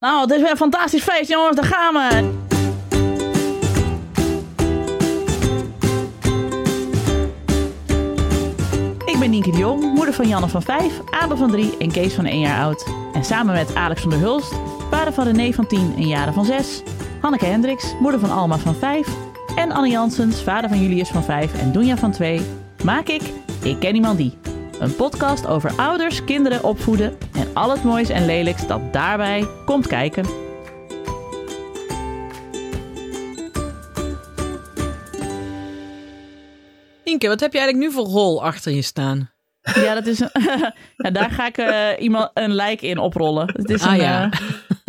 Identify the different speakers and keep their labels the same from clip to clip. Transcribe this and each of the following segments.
Speaker 1: Nou, het is weer een fantastisch feest, jongens. Daar gaan we. Ik ben Nienke de Jong, moeder van Janne van 5, Abel van 3 en Kees van 1 jaar oud. En samen met Alex van der Hulst, vader van René van 10 en Jaren van 6. Hanneke Hendricks, moeder van Alma van 5. En Anne Jansens, vader van Julius van 5 en Doenja van 2. Maak ik Ik Ken Iemand Die. Een podcast over ouders, kinderen, opvoeden en al het moois en lelijks dat daarbij komt kijken.
Speaker 2: Inke, wat heb je eigenlijk nu voor rol achter je staan?
Speaker 1: Ja, dat is een, ja, daar ga ik eh, iemand een lijk in oprollen. Het is, een,
Speaker 2: Ah,
Speaker 1: eh,
Speaker 2: ja.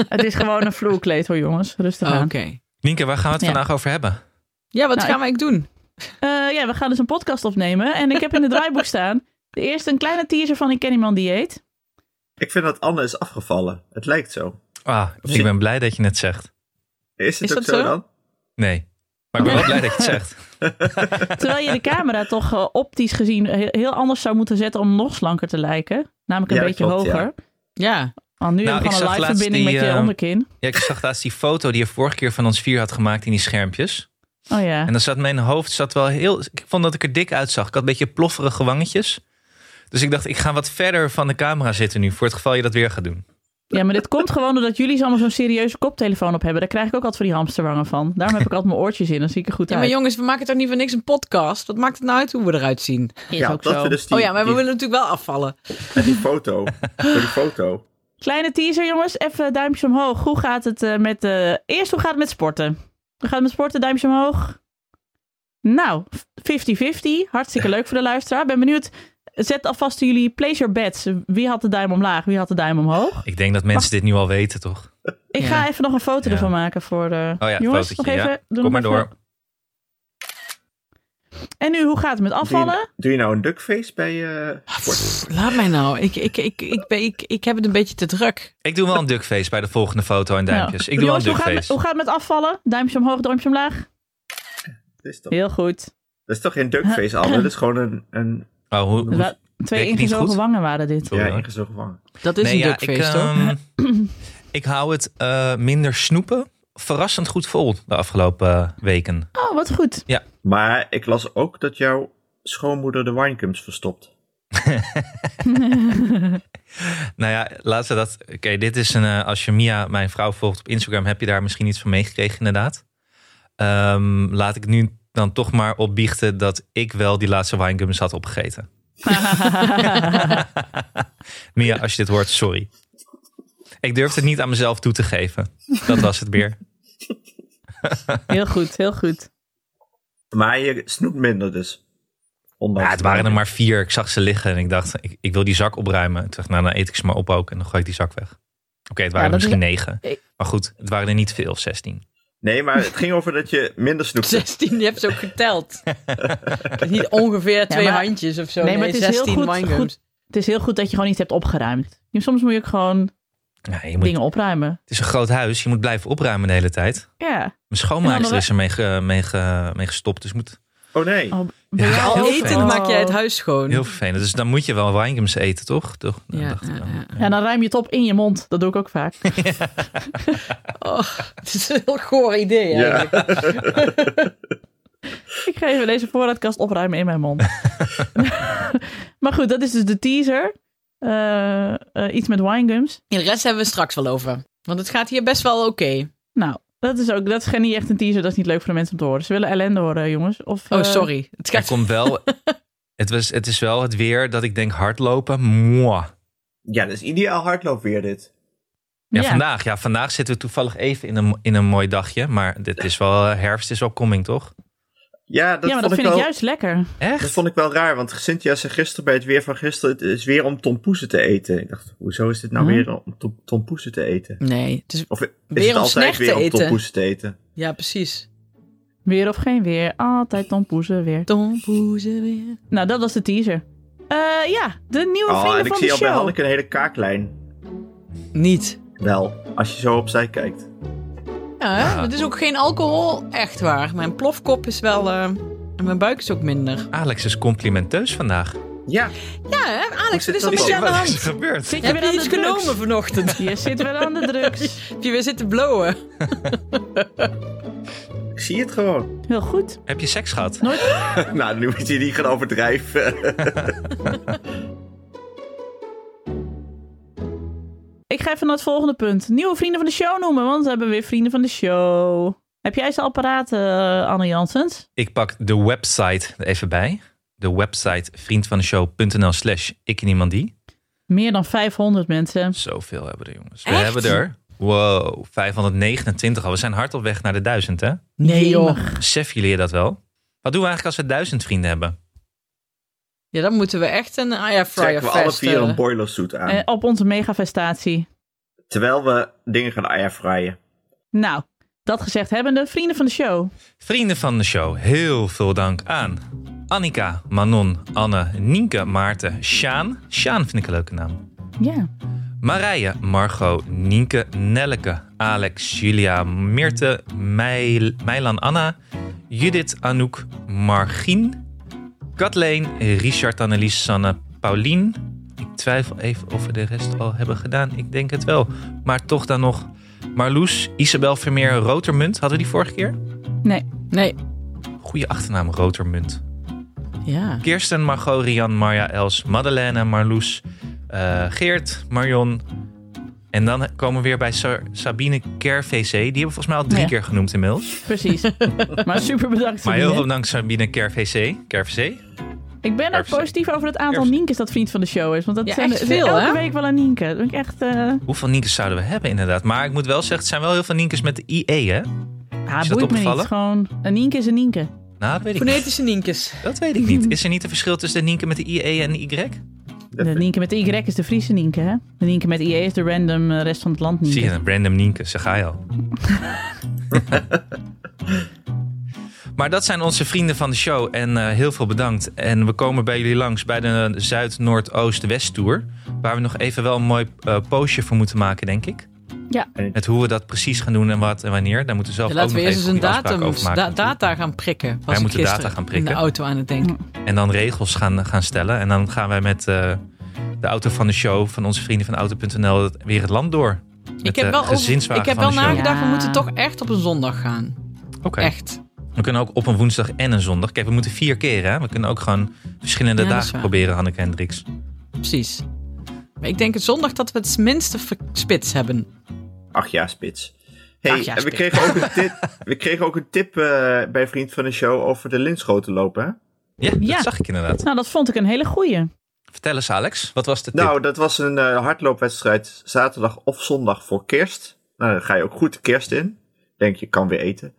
Speaker 1: het is gewoon een vloerkleed hoor jongens, rustig
Speaker 2: Oh, Oké.
Speaker 1: aan.
Speaker 3: Nienke, waar gaan we het
Speaker 1: Ja.
Speaker 3: vandaag over hebben?
Speaker 2: Ja, wat
Speaker 1: Nou,
Speaker 2: gaan we eigenlijk doen?
Speaker 1: Eh, ja, we gaan dus een podcast opnemen en ik heb in het draaiboek staan de eerste een kleine teaser van Ik Ken Iemand Die Eet.
Speaker 4: Ik vind dat Anne is afgevallen. Het lijkt zo.
Speaker 3: Ah, ik ben blij dat je het zegt.
Speaker 4: Is
Speaker 2: Is
Speaker 4: het ook
Speaker 2: dat
Speaker 4: zo
Speaker 2: zo?
Speaker 4: dan?
Speaker 3: Nee. Maar ik ben wel blij dat je het zegt.
Speaker 1: Terwijl je de camera toch eh, optisch gezien heel heel anders zou moeten zetten om nog slanker te lijken. Namelijk een
Speaker 4: Ja, dat
Speaker 1: beetje
Speaker 4: klopt, ja.
Speaker 1: hoger.
Speaker 2: Ja.
Speaker 1: Want nu
Speaker 3: Nou,
Speaker 1: heb je
Speaker 3: ik
Speaker 1: gewoon een
Speaker 3: zag
Speaker 1: live
Speaker 3: laatst
Speaker 1: verbinding
Speaker 3: die,
Speaker 1: met je
Speaker 3: eh,
Speaker 1: onderkin.
Speaker 3: Ja, ik zag laatst die foto die je vorige keer van ons vier had gemaakt in die schermpjes.
Speaker 1: Oh ja.
Speaker 3: En dan zat mijn hoofd zat wel heel... Ik vond dat ik er dik uitzag. Ik had een beetje plofferige wangetjes. Dus ik dacht, ik ga wat verder van de camera zitten nu. Voor het geval je dat weer gaat doen.
Speaker 1: Ja, maar dit komt gewoon doordat jullie allemaal zo'n serieuze koptelefoon op hebben. Daar krijg ik ook altijd van die hamsterwangen van. Daarom heb ik altijd mijn oortjes in, dan zie ik er goed
Speaker 2: ja, maar
Speaker 1: uit.
Speaker 2: jongens, we maken toch niet voor niks een podcast? Wat maakt het nou uit hoe we eruit zien?
Speaker 1: Is
Speaker 4: ja,
Speaker 1: ook
Speaker 4: dat
Speaker 1: zo.
Speaker 4: we dus die,
Speaker 2: oh ja, maar we
Speaker 4: die,
Speaker 2: willen natuurlijk wel afvallen.
Speaker 4: die foto. Door die foto.
Speaker 1: Kleine teaser, jongens. Even eh, duimpjes omhoog. Hoe gaat het eh, met... eh, Eerst, hoe gaat het met sporten? Hoe gaat het met sporten? Duimpjes omhoog. Nou, 50-50. Hartstikke leuk voor de luisteraar. Ben benieuwd. Zet alvast jullie place your bets. Wie had de duim omlaag? Wie had de duim omhoog?
Speaker 3: Ik denk dat mensen dit nu al weten, toch?
Speaker 1: Ik
Speaker 2: Ja.
Speaker 1: ga even nog een foto
Speaker 3: Ja.
Speaker 1: ervan maken voor de
Speaker 3: Oh ja, het
Speaker 1: jongens.
Speaker 3: fotootje,
Speaker 1: nog
Speaker 3: ja.
Speaker 1: even, doe
Speaker 3: Kom
Speaker 1: nog
Speaker 3: maar
Speaker 1: even-
Speaker 3: door.
Speaker 1: En nu, hoe gaat het met afvallen?
Speaker 4: Doe je, doe je nou een duckface bij eh sport?
Speaker 2: Pff, laat mij nou. Ik, ik, ik, ik, ben, ik, ik heb het een beetje te druk.
Speaker 3: Ik doe wel een duckface bij de volgende foto en duimpjes.
Speaker 1: Nou,
Speaker 3: Ik doe wel een
Speaker 1: jongens, hoe gaat, het-
Speaker 3: duckface.
Speaker 1: hoe gaat het met afvallen? Duimpjes omhoog, duimpjes omlaag.
Speaker 4: Dat is toch,
Speaker 1: Heel goed.
Speaker 4: dat is toch geen duckface, Anne? Dat is gewoon een, een
Speaker 3: Oh, hoe,
Speaker 1: Er wa-
Speaker 3: ik
Speaker 1: twee
Speaker 3: niet
Speaker 1: ingezogen
Speaker 3: goed?
Speaker 1: wangen waren dit.
Speaker 3: Sorry,
Speaker 4: ja,
Speaker 3: hoor.
Speaker 4: ingezogen wangen.
Speaker 2: Dat is een duckface,
Speaker 3: ik,
Speaker 2: toch?
Speaker 3: ehm, ik hou het eh, minder snoepen verrassend goed vol de afgelopen eh, weken.
Speaker 1: Oh, wat goed.
Speaker 4: Maar ik las ook dat jouw schoonmoeder de winecums verstopt.
Speaker 3: Nou ja, laten we dat... Oké, dit is een... eh, als je Mia, mijn vrouw, volgt op Instagram... heb je daar misschien iets van meegekregen, inderdaad. Ehm, laat ik nu dan toch maar opbiechten... dat ik wel die laatste winegums had opgegeten. Mia, als je dit hoort, sorry. Ik durfde het niet aan mezelf toe te geven. Dat was het weer.
Speaker 1: Heel goed, heel goed.
Speaker 4: Maar je snoept minder dus. Ondanks
Speaker 3: Ja, het waren er maar vier. Ik zag ze liggen en ik dacht, ik, ik wil die zak opruimen. Toen dacht ik, nou, dan eet ik ze maar op ook en dan gooi ik die zak weg. Oké, het waren
Speaker 1: Ja,
Speaker 3: er
Speaker 1: dat is-
Speaker 3: misschien negen.
Speaker 1: ik-
Speaker 3: Maar goed, het waren er niet veel, 16.
Speaker 4: Nee, maar het ging over dat je minder snoept.
Speaker 2: 16, je hebt ze ook geteld. niet ongeveer twee
Speaker 1: maar-
Speaker 2: handjes of zo.
Speaker 1: Nee, maar het is heel
Speaker 2: 16
Speaker 1: goed-
Speaker 2: winegums.
Speaker 1: goed. Het is heel goed dat je gewoon iets hebt opgeruimd. Je- Soms moet je ook gewoon
Speaker 3: Nee, je moet,
Speaker 1: dingen opruimen.
Speaker 3: het is een groot huis. Je moet blijven opruimen de hele tijd.
Speaker 1: Ja.
Speaker 3: Mijn
Speaker 1: En dan
Speaker 3: schoonmaakster
Speaker 1: nog-
Speaker 3: is er mee, ge- mee, ge- mee gestopt. Dus het moet
Speaker 4: Oh nee.
Speaker 1: Oh, bij jou
Speaker 3: Ja,
Speaker 2: Al
Speaker 1: ook?
Speaker 2: etend
Speaker 1: Oh.
Speaker 2: maak jij het huis schoon.
Speaker 3: heel vervelend. Dus dan moet je wel winegums eten, toch? toch? Dan
Speaker 2: Ja,
Speaker 3: dacht ik
Speaker 2: ja,
Speaker 3: dan.
Speaker 2: ja.
Speaker 1: Ja, dan ruim je het op in je mond. Dat doe ik ook vaak.
Speaker 2: Oh, het is een heel goor idee
Speaker 4: Ja.
Speaker 2: eigenlijk.
Speaker 1: Ik ga even deze voorraadkast opruimen in mijn mond. maar goed, dat is dus de teaser. Eh, eh, iets met winegums.
Speaker 2: De rest hebben we straks wel over. Want het gaat hier best wel oké.
Speaker 1: Nou, dat is ook dat is geen- niet echt een teaser. Dat is niet leuk voor de mensen om te horen. Ze willen ellende horen, jongens. Of,
Speaker 2: Oh,
Speaker 1: eh,
Speaker 2: sorry. Het
Speaker 3: Er
Speaker 2: gaat...
Speaker 3: komt wel... Het, was, het is wel het weer dat ik denk hardlopen. Mwah.
Speaker 4: Ja, dat is ideaal hardloopweer dit.
Speaker 3: Ja,
Speaker 1: Ja.
Speaker 3: Vandaag, ja, vandaag zitten we toevallig even in een, in een mooi dagje. Maar dit is wel, eh, herfst is wel coming, toch?
Speaker 4: Ja,
Speaker 1: ja,
Speaker 4: dat,
Speaker 1: maar
Speaker 4: vond
Speaker 1: dat vind
Speaker 4: wel...
Speaker 1: ik juist lekker.
Speaker 3: Echt?
Speaker 4: Dat vond ik wel raar, want Cynthia zei gisteren bij het weer van gisteren: het is weer om tompoezen te eten. Ik dacht, hoezo is dit nou
Speaker 1: Hm?
Speaker 4: weer om tom- tompoezen te eten?
Speaker 2: Nee, het is...
Speaker 4: Of is
Speaker 2: Weer
Speaker 4: het
Speaker 2: om
Speaker 4: altijd
Speaker 2: snack
Speaker 4: weer
Speaker 2: te
Speaker 4: om
Speaker 2: eten.
Speaker 4: tompoezen te eten?
Speaker 2: Ja, precies.
Speaker 1: Weer of geen weer, altijd Tom Poezen weer.
Speaker 2: Tompoezen weer.
Speaker 1: Nou, dat was de teaser. Eh, ja, de nieuwe
Speaker 4: Oh, en
Speaker 1: vrienden
Speaker 4: ik
Speaker 1: van de
Speaker 4: zie al bij
Speaker 1: show.
Speaker 4: Hanneke een hele kaaklijn.
Speaker 2: Niet.
Speaker 4: Wel, als je zo opzij kijkt.
Speaker 2: Ja, hè? het is ook geen alcohol. Echt waar. Mijn plofkop is wel... eh, En mijn buik is ook minder.
Speaker 3: Alex is complimenteus vandaag.
Speaker 4: Ja,
Speaker 2: Ja, hè? Alex,
Speaker 4: zit
Speaker 2: wat is er
Speaker 4: dat
Speaker 2: met
Speaker 4: dan?
Speaker 2: je aan de
Speaker 3: Wat is
Speaker 2: hand?
Speaker 3: er gebeurd?
Speaker 1: Zit je
Speaker 2: Heb
Speaker 1: weer aan
Speaker 2: je
Speaker 1: de
Speaker 2: iets
Speaker 1: drugs?
Speaker 2: genomen vanochtend?
Speaker 1: Je zit wel aan de drugs.
Speaker 2: Heb je weer zitten blowen?
Speaker 4: ik zie het gewoon.
Speaker 1: Heel goed.
Speaker 3: Heb je seks gehad?
Speaker 4: nou, nu moet je niet gaan overdrijven.
Speaker 1: Ik ga even naar het volgende punt. Nieuwe vrienden van de show noemen, want we hebben weer vrienden van de show. Heb jij ze al paraat, eh, Anne Janssens?
Speaker 3: Ik pak de website er even bij. De website vriendvandeshow.nl slash ik en iemand die.
Speaker 1: Meer dan 500 mensen.
Speaker 3: Zoveel hebben we er, jongens. We
Speaker 2: Echt?
Speaker 3: hebben er, wow, 529 al. We zijn hard op weg naar de duizend, hè?
Speaker 1: Nee, joh.
Speaker 3: Besef jullie dat wel? Wat doen we eigenlijk als we duizend vrienden hebben?
Speaker 2: Ja, dan moeten we echt een air fryer
Speaker 4: Trekken we alle
Speaker 2: fest.
Speaker 4: vier een
Speaker 2: eh,
Speaker 4: boilersuit aan.
Speaker 1: Eh, op onze megafestatie.
Speaker 4: Terwijl we dingen gaan airfryen.
Speaker 1: Nou, dat gezegd hebbende, vrienden van de show.
Speaker 3: Vrienden van de show, heel veel dank aan Annika, Manon, Anne, Nienke, Maarten, Sjaan. Sjaan vind ik een leuke naam.
Speaker 1: Ja.
Speaker 3: Marije, Margot, Nienke, Nelleke, Alex, Julia, Meerte, Meil- Meilan, Anna, Judith, Anouk, Margien, Kathleen, Richard, Annelies, Sanne, Paulien. Ik twijfel even of we de rest al hebben gedaan. Ik denk het wel. Maar toch dan nog Marloes, Isabel Vermeer, Rotermunt. Hadden we die vorige keer?
Speaker 1: Nee.
Speaker 2: Nee.
Speaker 3: Goeie achternaam, Rotermunt.
Speaker 2: Ja.
Speaker 3: Kirsten, Margot, Rian, Marja, Els, Madeleine, Marloes, eh, Geert, Marion. En dan komen we weer bij Sa- Sabine Ker VC. Die hebben we volgens mij al drie
Speaker 1: Ja.
Speaker 3: keer genoemd inmiddels.
Speaker 1: Precies. maar super bedankt.
Speaker 3: Maar heel
Speaker 1: Sabine.
Speaker 3: veel dank Sabine Ker VC. Ker VC.
Speaker 1: Ik ben ook
Speaker 3: Erfzee.
Speaker 1: positief over het aantal
Speaker 3: Erfzee.
Speaker 1: Ninkes dat vriend van de show is. Want dat
Speaker 2: Ja,
Speaker 1: zijn
Speaker 2: echt
Speaker 1: er-
Speaker 2: veel,
Speaker 1: elke
Speaker 2: hè?
Speaker 1: week wel een Nienke. Dat vind ik echt... eh
Speaker 3: Hoeveel Niekes zouden we hebben inderdaad? Maar ik moet wel zeggen, het zijn wel heel veel Niekes met de IE, hè? Nou,
Speaker 1: ah,
Speaker 3: dat
Speaker 1: boeit me niet.
Speaker 3: opgevallen?
Speaker 1: Gewoon, een Nienke is een Nienke.
Speaker 3: Nou, dat weet ik niet.
Speaker 2: Fonetische ninkes.
Speaker 3: Dat weet ik niet. Is er niet een verschil tussen de Nienke met de IE en de Y?
Speaker 1: De Nienke met de Y is de Friese Nienke, hè? De Nienke met IE is de random eh, rest van het land
Speaker 3: Zie je
Speaker 1: Nienke.
Speaker 3: een random Nienke, zeg hij al. maar dat zijn onze vrienden van de show en eh, heel veel bedankt. En we komen bij jullie langs bij de Zuid-Noord-Oost-West Tour. Waar we nog even wel een mooi eh, postje voor moeten maken, denk ik.
Speaker 1: Ja.
Speaker 3: Met hoe we dat precies gaan doen en wat en wanneer. Daar moeten we zelf
Speaker 2: Ja,
Speaker 3: ook nog
Speaker 2: laten we eerst eens
Speaker 3: even
Speaker 2: een
Speaker 3: goede afspraken
Speaker 2: datum,
Speaker 3: over maken.
Speaker 2: da- data gaan prikken. Was
Speaker 3: Wij
Speaker 2: ik
Speaker 3: moeten data
Speaker 2: gisteren
Speaker 3: gaan prikken.
Speaker 2: In de auto aan het denken.
Speaker 3: En dan regels gaan, gaan stellen. En dan gaan wij met eh, de auto van de show, van onze vrienden van auto.nl, het- weer het land door. Met
Speaker 2: Ik heb
Speaker 3: de
Speaker 2: wel, over-
Speaker 3: gezinswagen
Speaker 2: ik heb
Speaker 3: van
Speaker 2: wel
Speaker 3: de show.
Speaker 2: nagedacht, we
Speaker 1: Ja.
Speaker 2: moeten toch echt op een zondag gaan.
Speaker 3: Oké.
Speaker 2: Echt.
Speaker 3: We kunnen ook op een woensdag en een zondag. Kijk, we moeten vier keer, hè? We kunnen ook gewoon verschillende
Speaker 2: Ja, dat is
Speaker 3: dagen
Speaker 2: waar.
Speaker 3: proberen, Hanneke Hendricks.
Speaker 2: Precies. Maar ik denk het zondag dat we het minste ver- spits hebben.
Speaker 4: Acht jaar spits. Hey,
Speaker 2: Acht jaar
Speaker 4: en we,
Speaker 2: spits.
Speaker 4: kregen ook een tip, we kregen ook een tip eh, bij vriend van de show over de linschoten lopen. Hè?
Speaker 3: Ja,
Speaker 1: Ja.
Speaker 3: dat zag ik inderdaad.
Speaker 1: Nou, dat vond ik een hele goeie.
Speaker 3: Vertel eens, Alex. Wat was de tip?
Speaker 4: Nou, dat was een eh, hardloopwedstrijd zaterdag of zondag voor kerst. Nou, dan ga je ook goed de kerst in. Denk je, kan weer eten.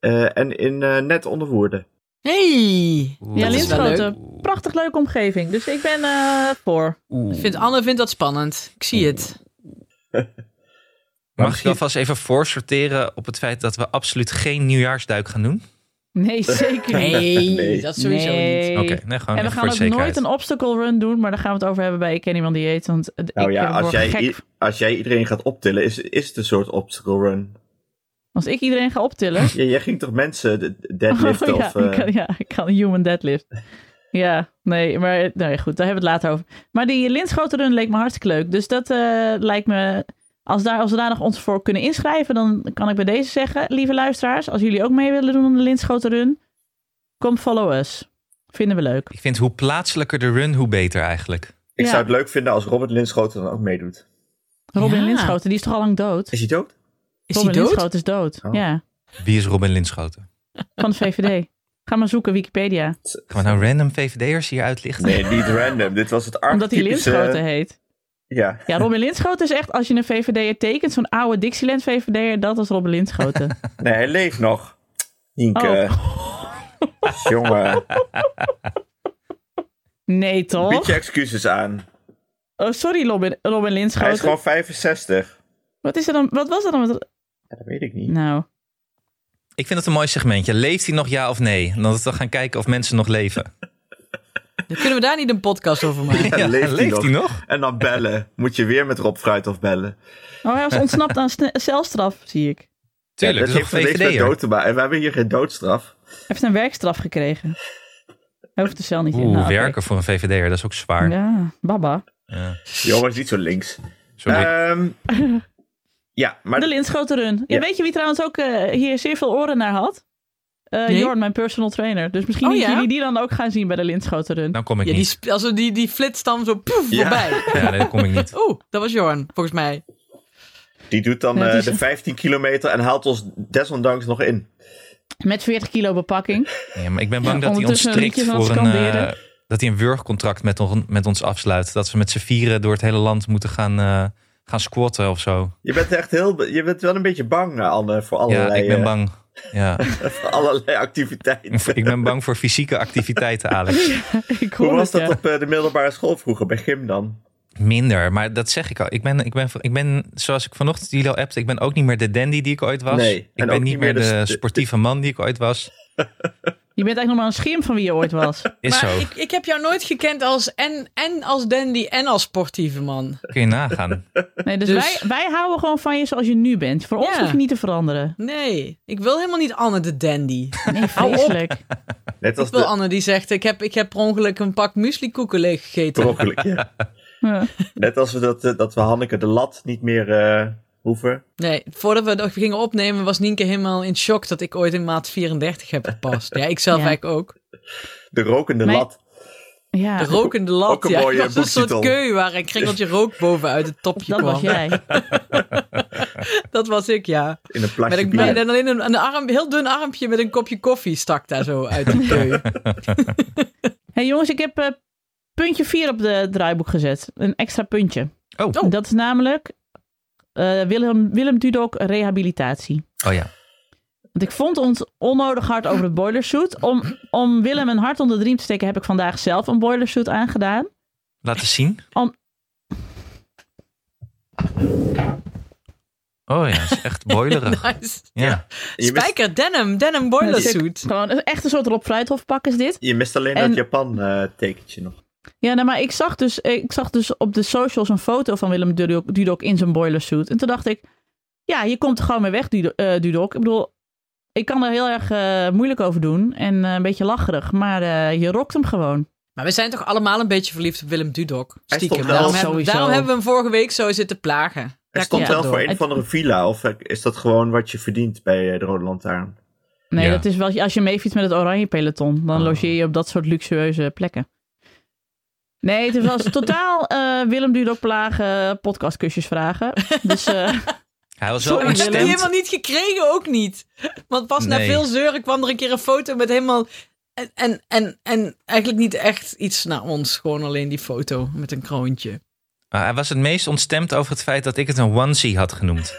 Speaker 4: Eh, en in eh, net onder Woerden.
Speaker 2: Hey!
Speaker 3: Oeh.
Speaker 1: Ja,
Speaker 2: dat is wel
Speaker 1: Linschoten. Prachtig leuke omgeving. Dus ik ben eh, voor.
Speaker 3: Oeh.
Speaker 2: Vindt, Anne vindt dat spannend. Ik zie het.
Speaker 3: Mag ik alvast even voorsorteren op het feit dat we absoluut geen nieuwjaarsduik gaan doen?
Speaker 1: Nee, zeker niet.
Speaker 2: Nee,
Speaker 4: Nee.
Speaker 2: dat sowieso niet.
Speaker 1: Nee.
Speaker 3: Oké, nee, gewoon
Speaker 1: En we
Speaker 3: even voor
Speaker 1: gaan
Speaker 3: de
Speaker 1: ook
Speaker 3: zekerheid.
Speaker 1: nooit een obstacle run doen, maar daar gaan we het over hebben bij Ik Ken Iemand Die Eet. Want eh,
Speaker 4: Nou
Speaker 1: ik
Speaker 4: ja,
Speaker 1: eh,
Speaker 4: als
Speaker 1: word
Speaker 4: jij,
Speaker 1: gek
Speaker 4: i- als jij iedereen gaat optillen, is, is het een soort obstacle run.
Speaker 1: Als ik iedereen ga optillen.
Speaker 4: Ja, jij ging toch mensen de- de- deadliften
Speaker 1: Oh, ja,
Speaker 4: of... eh,
Speaker 1: ik kan, ja, ik kan een human deadlift. Ja, nee, maar nee, goed, daar hebben we het later over. Maar die linschotenrun leek me hartstikke leuk. Dus dat eh, lijkt me, als, daar, als we daar nog ons voor kunnen inschrijven, dan kan ik bij deze zeggen, lieve luisteraars, als jullie ook mee willen doen aan de linschotenrun, kom follow us. Vinden we leuk.
Speaker 3: Ik vind hoe plaatselijker de run, hoe beter eigenlijk.
Speaker 4: Ik
Speaker 1: Ja.
Speaker 4: zou het leuk vinden als Robert Linschoten dan ook meedoet.
Speaker 1: Robin
Speaker 2: Ja.
Speaker 1: Linschoten, die is toch al lang dood?
Speaker 4: Is hij dood?
Speaker 2: Is
Speaker 1: Robin
Speaker 2: die dood?
Speaker 1: Linschoten is dood,
Speaker 4: Oh.
Speaker 1: ja.
Speaker 3: Wie is Robin Linschoten?
Speaker 1: Van de VVD. Ga maar zoeken, Wikipedia.
Speaker 3: Gaan we nou random VVD'ers hier uitlichten?
Speaker 4: Nee, niet random. Dit was het
Speaker 1: Omdat hij
Speaker 4: archetypische-
Speaker 1: Linschoten heet.
Speaker 4: Ja,
Speaker 1: Ja, Robin Linschoten is echt, als je een VVD'er tekent, zo'n oude Dixieland-VVD'er, dat is Robin Linschoten.
Speaker 4: nee, hij leeft nog. Nienke.
Speaker 1: Oh.
Speaker 4: Jongen,
Speaker 1: Nee, toch?
Speaker 4: bied je excuses aan.
Speaker 1: Oh, sorry, Robin, Robin
Speaker 4: Hij is
Speaker 1: Linschoten.
Speaker 4: gewoon 65.
Speaker 1: Wat, is er dan, wat was er dan met...
Speaker 4: Ja, dat weet ik niet.
Speaker 1: Nou,
Speaker 3: Ik vind het een mooi segmentje. Leeft hij nog ja of nee? En dat we gaan kijken of mensen nog leven.
Speaker 2: Dan kunnen we daar niet een podcast over maken.
Speaker 4: Ja, leeft hij nog?
Speaker 3: hij nog?
Speaker 4: En dan bellen. Moet je weer met Rob Fruithof bellen.
Speaker 1: oh, hij was ontsnapt aan sne- celstraf, zie ik.
Speaker 4: Ja,
Speaker 3: Tuurlijk,
Speaker 4: dat
Speaker 3: dat is
Speaker 4: heeft
Speaker 3: toch
Speaker 4: niks met
Speaker 3: VVD'er?
Speaker 4: dood te maken. En we hebben hier geen doodstraf.
Speaker 1: Hij heeft een werkstraf gekregen. Hij hoeft de cel niet in.
Speaker 3: Oeh,
Speaker 1: Nou, oké.
Speaker 3: werken voor een VVD'er, dat is ook zwaar. Ja.
Speaker 1: Ja, baba.
Speaker 4: Johan is niet zo links.
Speaker 3: Sorry.
Speaker 4: Ehm, ja, maar
Speaker 1: De Linschoten Run. Ja,
Speaker 4: Ja.
Speaker 1: Weet je wie trouwens ook eh, hier zeer veel oren naar had? Eh,
Speaker 2: Nee.
Speaker 1: Jorn, mijn personal trainer. Dus misschien
Speaker 2: Oh,
Speaker 1: dat
Speaker 2: ja?
Speaker 1: jullie die dan ook gaan zien bij de Linschoten Run.
Speaker 3: dan kom ik
Speaker 2: Ja, die,
Speaker 3: niet.
Speaker 2: sp- als we die, die flitst dan zo poef,
Speaker 4: Ja.
Speaker 2: voorbij.
Speaker 3: Ja, nee, dan kom ik niet.
Speaker 2: Oeh, dat was Jorn, volgens mij.
Speaker 4: die doet dan
Speaker 1: Ja,
Speaker 4: eh,
Speaker 1: die is-
Speaker 4: de 15 kilometer en haalt ons desondanks nog in.
Speaker 1: Met 40 kilo bepakking.
Speaker 3: Nee, maar ik ben bang
Speaker 1: Ja,
Speaker 3: dat hij ons
Speaker 1: ondertussen een
Speaker 3: strikt
Speaker 1: liedje van
Speaker 3: voor
Speaker 1: het
Speaker 3: een...
Speaker 1: skanderen.
Speaker 3: eh, dat hij een wurgcontract met, on- met ons afsluit. Dat we met z'n vieren door het hele land moeten gaan, eh, gaan squatten of zo.
Speaker 4: Je bent echt heel, be- je bent wel een beetje bang, eh, Anne, voor
Speaker 3: Ja,
Speaker 4: allerlei,
Speaker 3: ik ben
Speaker 4: eh,
Speaker 3: bang. Ja.
Speaker 4: voor allerlei activiteiten.
Speaker 3: ik ben bang voor fysieke activiteiten, Alex.
Speaker 1: ik hoor
Speaker 4: Hoe was
Speaker 1: het,
Speaker 4: dat
Speaker 1: ja.
Speaker 4: op eh, de middelbare school vroeger, bij gym dan?
Speaker 3: Minder, maar dat zeg ik al. Ik ben, ik ben, ik ben zoals ik vanochtend jullie al appte, ik ben ook niet meer de dandy die ik ooit was.
Speaker 4: Nee,
Speaker 3: ik
Speaker 4: en ook
Speaker 3: ben niet meer de,
Speaker 4: de-
Speaker 3: sportieve man die ik ooit was.
Speaker 1: Je bent eigenlijk nog maar een schim van wie je ooit was.
Speaker 3: Is
Speaker 2: maar
Speaker 3: zo.
Speaker 2: Ik, ik heb jou nooit gekend als en, en als dandy en als sportieve man.
Speaker 3: Kun je nagaan.
Speaker 1: Nee, dus
Speaker 2: Dus-
Speaker 1: Wij, wij houden gewoon van je zoals je nu bent. Voor ons
Speaker 2: Ja.
Speaker 1: hoef je niet te veranderen.
Speaker 2: Nee, ik wil helemaal niet Anne de dandy.
Speaker 1: Nee, vreselijk.
Speaker 4: Net als
Speaker 2: Ik wil
Speaker 4: de
Speaker 2: Anne die zegt, ik heb, ik heb per ongeluk een pak mueslikoeken leeg gegeten.
Speaker 4: broccoli. ja.
Speaker 1: Ja.
Speaker 4: Net als we dat, eh, dat we Hanneke de lat niet meer eh, hoeven.
Speaker 2: Nee, voordat we dat gingen opnemen was Nienke helemaal in shock dat ik ooit in maat 34 heb gepast. Ja, ik zelf
Speaker 1: Ja.
Speaker 2: eigenlijk ook.
Speaker 4: De rokende
Speaker 1: Mijn-
Speaker 4: lat.
Speaker 1: Ja,
Speaker 2: De rokende lat,
Speaker 4: Ook een
Speaker 2: ja.
Speaker 4: mooie
Speaker 2: dat was een soort
Speaker 4: boektitel.
Speaker 2: keu waar een kringeltje rook bovenuit het topje
Speaker 1: dat
Speaker 2: kwam.
Speaker 1: was jij.
Speaker 2: Dat was ik, ja.
Speaker 4: In een plakje
Speaker 2: Met, een,
Speaker 4: bier.
Speaker 2: met alleen een, een arm, heel dun armpje met een kopje koffie stak daar zo uit die keu.
Speaker 1: hey, jongens, ik heb eh, puntje 4 op de draaiboek gezet. Een extra puntje.
Speaker 3: Oh, oh,
Speaker 1: Dat is namelijk eh, Willem, Willem Dudok rehabilitatie.
Speaker 3: oh ja.
Speaker 1: Want ik vond ons onnodig hard over het boilersuit. Om, om Willem een hart onder de riem te steken heb ik vandaag zelf een boilersuit aangedaan.
Speaker 3: Laat eens zien.
Speaker 1: An-
Speaker 3: Oh ja, dat is echt boilerig.
Speaker 2: Nice.
Speaker 3: Ja.
Speaker 4: Je mist-
Speaker 2: Spijker, denim, denim boiler suit.
Speaker 1: Gewoon een- echt een soort Rob Fruithof pak is dit.
Speaker 4: Je mist alleen
Speaker 1: En-
Speaker 4: dat Japan-tekentje nog.
Speaker 1: Ja, nou, maar ik zag, dus, ik zag dus op de socials een foto van Willem Dudok, Dudok in zijn boilersuit. En toen dacht ik, ja, je komt er gewoon mee weg, Dudo- eh, Dudok. Ik bedoel, ik kan er heel erg eh, moeilijk over doen en eh, een beetje lacherig. Maar eh, je rokt hem gewoon.
Speaker 2: Maar we zijn toch allemaal een beetje verliefd op Willem Dudok?
Speaker 4: Hij
Speaker 2: Stiekem.
Speaker 4: stond wel
Speaker 2: Daarom, hebben,
Speaker 1: sowieso.
Speaker 2: daarom hebben we hem vorige week zo zitten plagen.
Speaker 4: Het
Speaker 2: Daar
Speaker 4: stond
Speaker 2: komt
Speaker 4: wel
Speaker 2: dat
Speaker 4: voor
Speaker 2: door.
Speaker 4: een of andere villa. Of eh, is dat gewoon wat je verdient bij eh, de Rode Lantaarn?
Speaker 1: Nee,
Speaker 3: Ja.
Speaker 1: dat is wel, als je meefietst met het Oranje Peloton, dan
Speaker 3: Oh.
Speaker 1: logeer je op dat soort luxueuze plekken. Nee, het was totaal eh, Willem Dudok plagen, podcastkusjes vragen. Dus eh,
Speaker 3: Hij was wel
Speaker 1: Sorry,
Speaker 2: Maar we hebben die
Speaker 3: instant.
Speaker 2: helemaal niet gekregen, ook niet. Want pas na
Speaker 3: Nee.
Speaker 2: veel zeuren kwam er een keer een foto met helemaal... En, en, en, en eigenlijk niet echt iets naar ons. Gewoon alleen die foto met een kroontje.
Speaker 3: Maar Ah, hij was het meest ontstemd over het feit dat ik het een onesie had genoemd.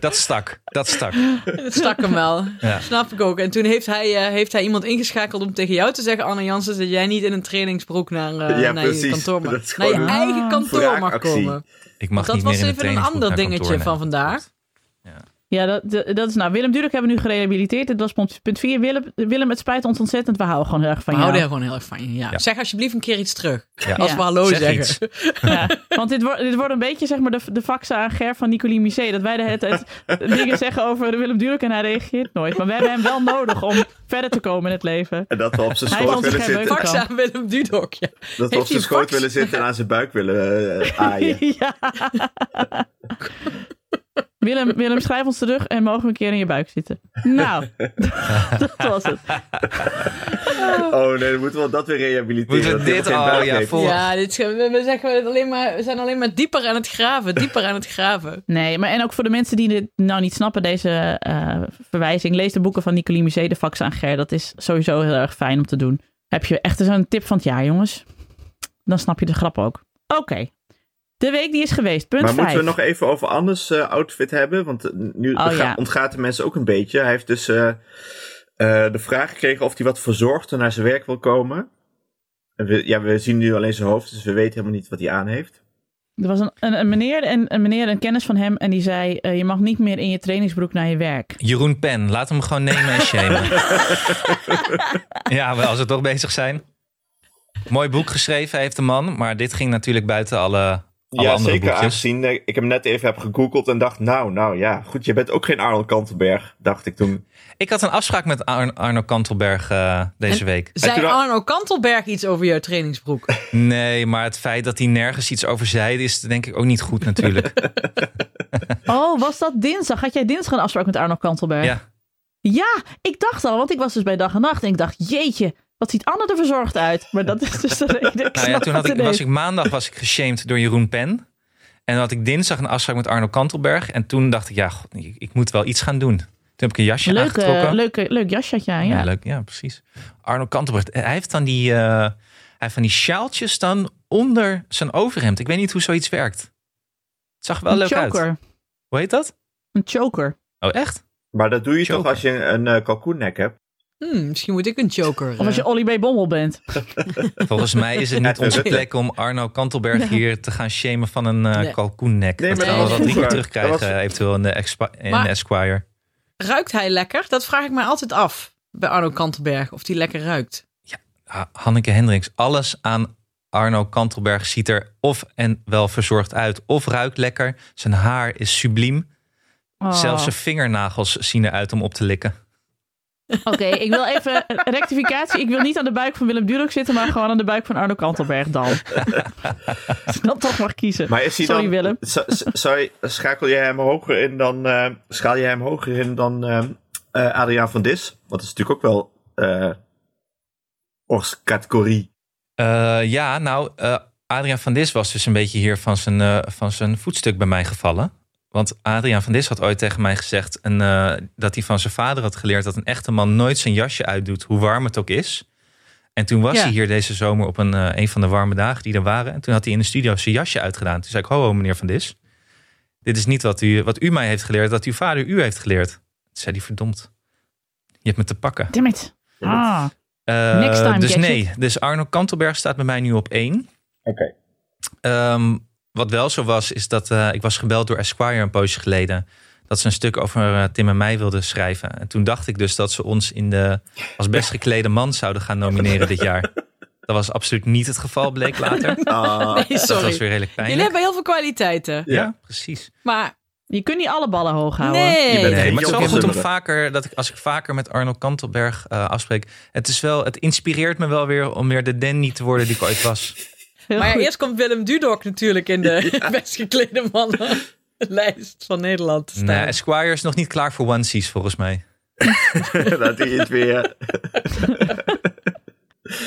Speaker 3: dat stak, dat stak.
Speaker 2: Het stak hem wel.
Speaker 3: Ja.
Speaker 2: Snap ik ook. En toen heeft hij, eh, heeft hij iemand ingeschakeld om tegen jou te zeggen, Anne Jansen, dat jij niet in een trainingsbroek naar, eh,
Speaker 4: Ja,
Speaker 2: naar je
Speaker 4: precies.
Speaker 2: kantoor mag,
Speaker 4: Dat is
Speaker 2: naar je
Speaker 4: gewoon
Speaker 1: een
Speaker 2: eigen kantoor mag
Speaker 4: wraakactie.
Speaker 2: komen.
Speaker 3: Ik mag
Speaker 2: dat
Speaker 3: niet
Speaker 2: was
Speaker 3: meer in
Speaker 2: even een
Speaker 3: de trainingsbroek
Speaker 2: ander
Speaker 3: naar
Speaker 2: dingetje
Speaker 3: kantoor, nee.
Speaker 2: van vandaag.
Speaker 1: Ja, dat, dat dat is nou. Willem Durek hebben we nu gerehabiliteerd. Dat was punt- punt 4. Willem, Willem, het spijt ons ontzettend. We houden gewoon heel erg
Speaker 2: We
Speaker 1: van jou.
Speaker 2: houden er gewoon heel erg van je. Ja.
Speaker 3: Ja.
Speaker 2: Zeg alsjeblieft een keer iets terug.
Speaker 3: Ja.
Speaker 2: Als
Speaker 1: Ja.
Speaker 2: we hallo
Speaker 3: Zeg
Speaker 2: zeggen.
Speaker 3: iets.
Speaker 1: Ja, want dit, wordt dit wordt een beetje zeg maar de, de faxen aan Ger van Nicolie Misé. Dat wij de hele tijd dingen zeggen over Willem Durek en hij reageert nooit. Maar we hebben hem wel nodig om verder te komen in het leven.
Speaker 4: En dat we op zijn
Speaker 1: Hij
Speaker 4: schoot
Speaker 1: vond het
Speaker 4: willen
Speaker 1: geen
Speaker 4: zitten.
Speaker 1: leuk.
Speaker 2: Fax
Speaker 1: kan.
Speaker 2: aan Willem Dudok. Ja.
Speaker 4: Dat we
Speaker 2: Heeft
Speaker 4: op zijn
Speaker 2: hij
Speaker 4: schoot
Speaker 2: fax?
Speaker 4: willen zitten en aan zijn buik willen eh, aaien.
Speaker 1: Ja. Willem, Willem, schrijf ons terug en mogen we een keer in je buik zitten. Nou, dat was het.
Speaker 4: Oh nee, dan moeten we dat weer rehabiliteren.
Speaker 3: Moeten we
Speaker 4: dat hij
Speaker 3: dit-
Speaker 4: geen
Speaker 3: oh,
Speaker 4: buik
Speaker 3: ja,
Speaker 4: heeft.
Speaker 3: vol- Volg.
Speaker 2: Ja, dit, is- we, we zeggen het alleen maar, we zijn alleen maar dieper aan het graven. Dieper aan het graven.
Speaker 1: Nee, maar en ook voor de mensen die dit nou niet snappen, deze eh, verwijzing. Lees de boeken van Nicolie Musée, de fax aan Ger. Dat is sowieso heel erg fijn om te doen. Heb je echt zo'n tip van het jaar, jongens? Dan snap je de grap ook. Oké. De week die is geweest. Punt
Speaker 4: Maar
Speaker 1: 5.
Speaker 4: moeten we nog even over Annes eh, outfit hebben? Want eh, nu
Speaker 1: Oh,
Speaker 4: ga-
Speaker 1: ja.
Speaker 4: ontgaat de mensen ook een beetje. Hij heeft dus eh, eh, de vraag gekregen of hij wat verzorgd naar zijn werk wil komen. En we, ja, we zien nu alleen zijn hoofd, dus we weten helemaal niet wat hij aan heeft.
Speaker 1: Er was een, een, een meneer, en een meneer, een kennis van hem, en die zei: eh, Je mag niet meer in je trainingsbroek naar je werk.
Speaker 3: Jeroen Pen, laat hem gewoon nemen en shamen. ja, maar als we toch bezig zijn. Mooi boek geschreven heeft de man, maar dit ging natuurlijk buiten alle alle
Speaker 4: ja,
Speaker 3: andere
Speaker 4: zeker.
Speaker 3: boekjes.
Speaker 4: Aangezien eh, ik hem net even heb gegoogeld en dacht, nou, nou ja, goed, je bent ook geen Arnold Kantenberg, dacht ik toen.
Speaker 3: Ik had een afspraak met Ar- Arno Kantelberg eh, deze
Speaker 2: En-
Speaker 3: week.
Speaker 4: En
Speaker 2: Zei
Speaker 4: toen-
Speaker 2: Arno Kantelberg iets over jouw trainingsbroek?
Speaker 3: Nee, maar het feit dat hij nergens iets over zei, is denk ik ook niet goed natuurlijk.
Speaker 1: Oh, was dat dinsdag? Had jij dinsdag een afspraak met Arno Kantelberg?
Speaker 3: ja. Nou
Speaker 1: Ja, ik dacht al, want ik was dus bij dag en nacht en ik dacht, jeetje, wat ziet Anne er verzorgd uit? Maar dat is dus de reden.
Speaker 3: Nou ja,
Speaker 1: snap
Speaker 3: toen had
Speaker 1: het
Speaker 3: ik, was
Speaker 1: ineens.
Speaker 3: ik maandag was ik geshamed door Jeroen Pen. En dan had ik dinsdag een afspraak met Arno Kantelberg. En toen dacht ik, ja, god, ik, ik moet wel iets gaan doen. Toen heb ik een jasje
Speaker 1: Leuk, eh,
Speaker 3: aangetrokken.
Speaker 1: leuke, leuk jasje had je aan, Ah, ja.
Speaker 3: Ja, leuk. Ja, precies. Arno Kantelberg, hij heeft dan die, eh, hij heeft van die sjaaltjes dan onder zijn overhemd. Ik weet niet hoe zoiets werkt. Het zag er wel
Speaker 1: een
Speaker 3: leuk
Speaker 1: choker.
Speaker 3: uit. Hoe heet dat?
Speaker 1: Een choker.
Speaker 3: Oh, echt?
Speaker 4: Maar dat doe je
Speaker 3: Joker.
Speaker 4: toch als je een eh kalkoennek hebt?
Speaker 2: Hmm, misschien moet ik een joker.
Speaker 1: Of als je
Speaker 2: eh,
Speaker 1: Olly B. Bommel bent.
Speaker 3: Volgens mij is het niet onze plek om Arno Kantelberg hier te gaan shamen van een eh
Speaker 2: Nee.
Speaker 3: kalkoennek.
Speaker 4: Nee,
Speaker 3: dat
Speaker 4: maar
Speaker 3: gaan
Speaker 2: dat
Speaker 3: we
Speaker 2: was
Speaker 3: wel drie keer
Speaker 4: vroeger.
Speaker 3: terugkrijgen,
Speaker 4: Dat was-
Speaker 3: eventueel in de, Expa- in
Speaker 2: Maar-
Speaker 3: de Esquire.
Speaker 2: Ruikt hij lekker? Dat vraag ik mij altijd af bij Arno Kantelberg. Of die lekker ruikt.
Speaker 3: Ha- Hanneke Hendricks, alles aan Arno Kantelberg ziet er of en wel verzorgd uit, of ruikt lekker. Zijn haar is subliem.
Speaker 1: Oh.
Speaker 3: Zelfs zijn vingernagels zien eruit om op te likken.
Speaker 1: Oké, ik wil even rectificatie. Ik wil niet aan de buik van Willem Durok zitten, maar gewoon aan de buik van Arno Kantelberg dan. Als ik dan toch mag kiezen.
Speaker 4: Maar is hij
Speaker 1: Sorry
Speaker 4: dan,
Speaker 1: Willem.
Speaker 4: Zo- zo- Sorry, schakel je hem hoger in dan, eh, schaal je hem hoger in dan eh, eh, Adriaan van Dis? Want dat is natuurlijk ook wel eh orscategorie.
Speaker 3: Eh, ja, nou, eh, Adriaan van Dis was dus een beetje hier van zijn, eh, van zijn voetstuk bij mij gevallen. Want Adriaan van Dis had ooit tegen mij gezegd een, eh, dat hij van zijn vader had geleerd dat een echte man nooit zijn jasje uitdoet, hoe warm het ook is. En toen was
Speaker 2: Ja.
Speaker 3: hij hier deze zomer op een, eh, een van de warme dagen die er waren. En toen had hij in de studio zijn jasje uitgedaan. Toen zei ik, ho, ho meneer Van Dis, dit is niet wat u, wat u mij heeft geleerd, dat uw vader u heeft geleerd. Toen zei hij, verdomd, je hebt me te pakken.
Speaker 1: Damn it. Ah,
Speaker 3: Eh,
Speaker 1: Next time,
Speaker 3: dus
Speaker 1: gadget.
Speaker 3: nee, dus Arno Kantelberg staat bij mij nu op één.
Speaker 4: Oké.
Speaker 3: Ehm, wat wel zo was, is dat eh, ik was gebeld door Esquire een poosje geleden. Dat ze een stuk over eh, Tim en mij wilden schrijven. En toen dacht ik dus dat ze ons in de, als best geklede man zouden gaan nomineren dit jaar. Dat was absoluut niet het geval, bleek later.
Speaker 4: Ah,
Speaker 2: Nee,
Speaker 3: Dat was
Speaker 2: sorry.
Speaker 3: weer redelijk pijnlijk.
Speaker 2: Jullie hebben heel veel kwaliteiten.
Speaker 3: Ja,
Speaker 4: Ja.
Speaker 3: precies.
Speaker 2: Maar
Speaker 1: je kunt niet alle ballen hoog
Speaker 3: Nou,
Speaker 1: houden.
Speaker 2: nee.
Speaker 4: Je
Speaker 3: Nee,
Speaker 4: bent- Nee,
Speaker 3: maar het is wel
Speaker 4: Job
Speaker 3: goed om
Speaker 4: Zummeren.
Speaker 3: vaker, dat ik, als ik vaker met Arno Kantelberg eh, afspreek. Het, is wel, het inspireert me wel weer om weer de Danny te worden die ik ooit was.
Speaker 1: Heel
Speaker 2: Maar ja,
Speaker 1: goed.
Speaker 2: eerst komt Willem Dudok natuurlijk in de best geklede mannenlijst van Nederland te staan.
Speaker 3: Nee, Esquire is nog niet klaar voor onesies volgens mij.
Speaker 4: dat hij het weer.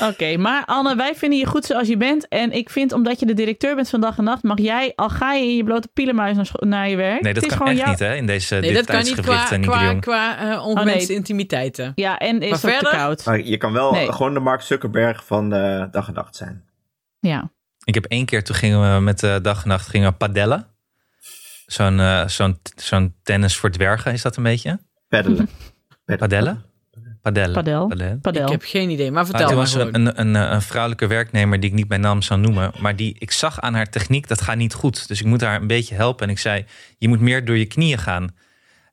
Speaker 1: Oké, maar Anne, wij vinden je goed zoals je bent. En ik vind, omdat je de directeur bent van dag en nacht, mag jij, al ga je in je blote pielenmuis naar, scho- naar je werk.
Speaker 3: Nee,
Speaker 1: Het
Speaker 3: dat
Speaker 1: is
Speaker 3: kan
Speaker 1: gewoon
Speaker 3: echt
Speaker 1: jouw-
Speaker 3: niet hè, in deze
Speaker 2: Nee,
Speaker 3: dit
Speaker 2: dat kan niet
Speaker 3: tijdsgewricht,
Speaker 2: qua,
Speaker 3: eh, Nicky de
Speaker 2: qua,
Speaker 3: Jong.
Speaker 2: qua eh, ongewenste intimiteiten.
Speaker 1: Ja, en is
Speaker 2: Maar
Speaker 1: dat te
Speaker 2: verder?
Speaker 1: koud.
Speaker 3: Oh,
Speaker 4: Maar je kan wel
Speaker 1: Nee.
Speaker 4: gewoon de Mark Zuckerberg van eh, dag en nacht zijn.
Speaker 1: Ja.
Speaker 3: Ik heb één keer, toen gingen we met eh, dag en nacht gingen we padellen. Zo'n eh, zo'n zo'n tennis voor dwergen is dat een beetje.
Speaker 4: Peddelen. Peddelen.
Speaker 3: Padellen? Padellen.
Speaker 1: Padel.
Speaker 3: Padellen.
Speaker 1: Padel.
Speaker 2: Ik heb geen idee, maar
Speaker 3: Maar
Speaker 2: vertel
Speaker 3: er
Speaker 2: maar
Speaker 3: was
Speaker 2: gewoon.
Speaker 3: een, een, een, eh, een vrouwelijke werknemer die ik niet bij naam zou noemen. Maar die, ik zag aan haar techniek, dat gaat niet goed. Dus ik moet haar een beetje helpen. En ik zei, je moet meer door je knieën gaan.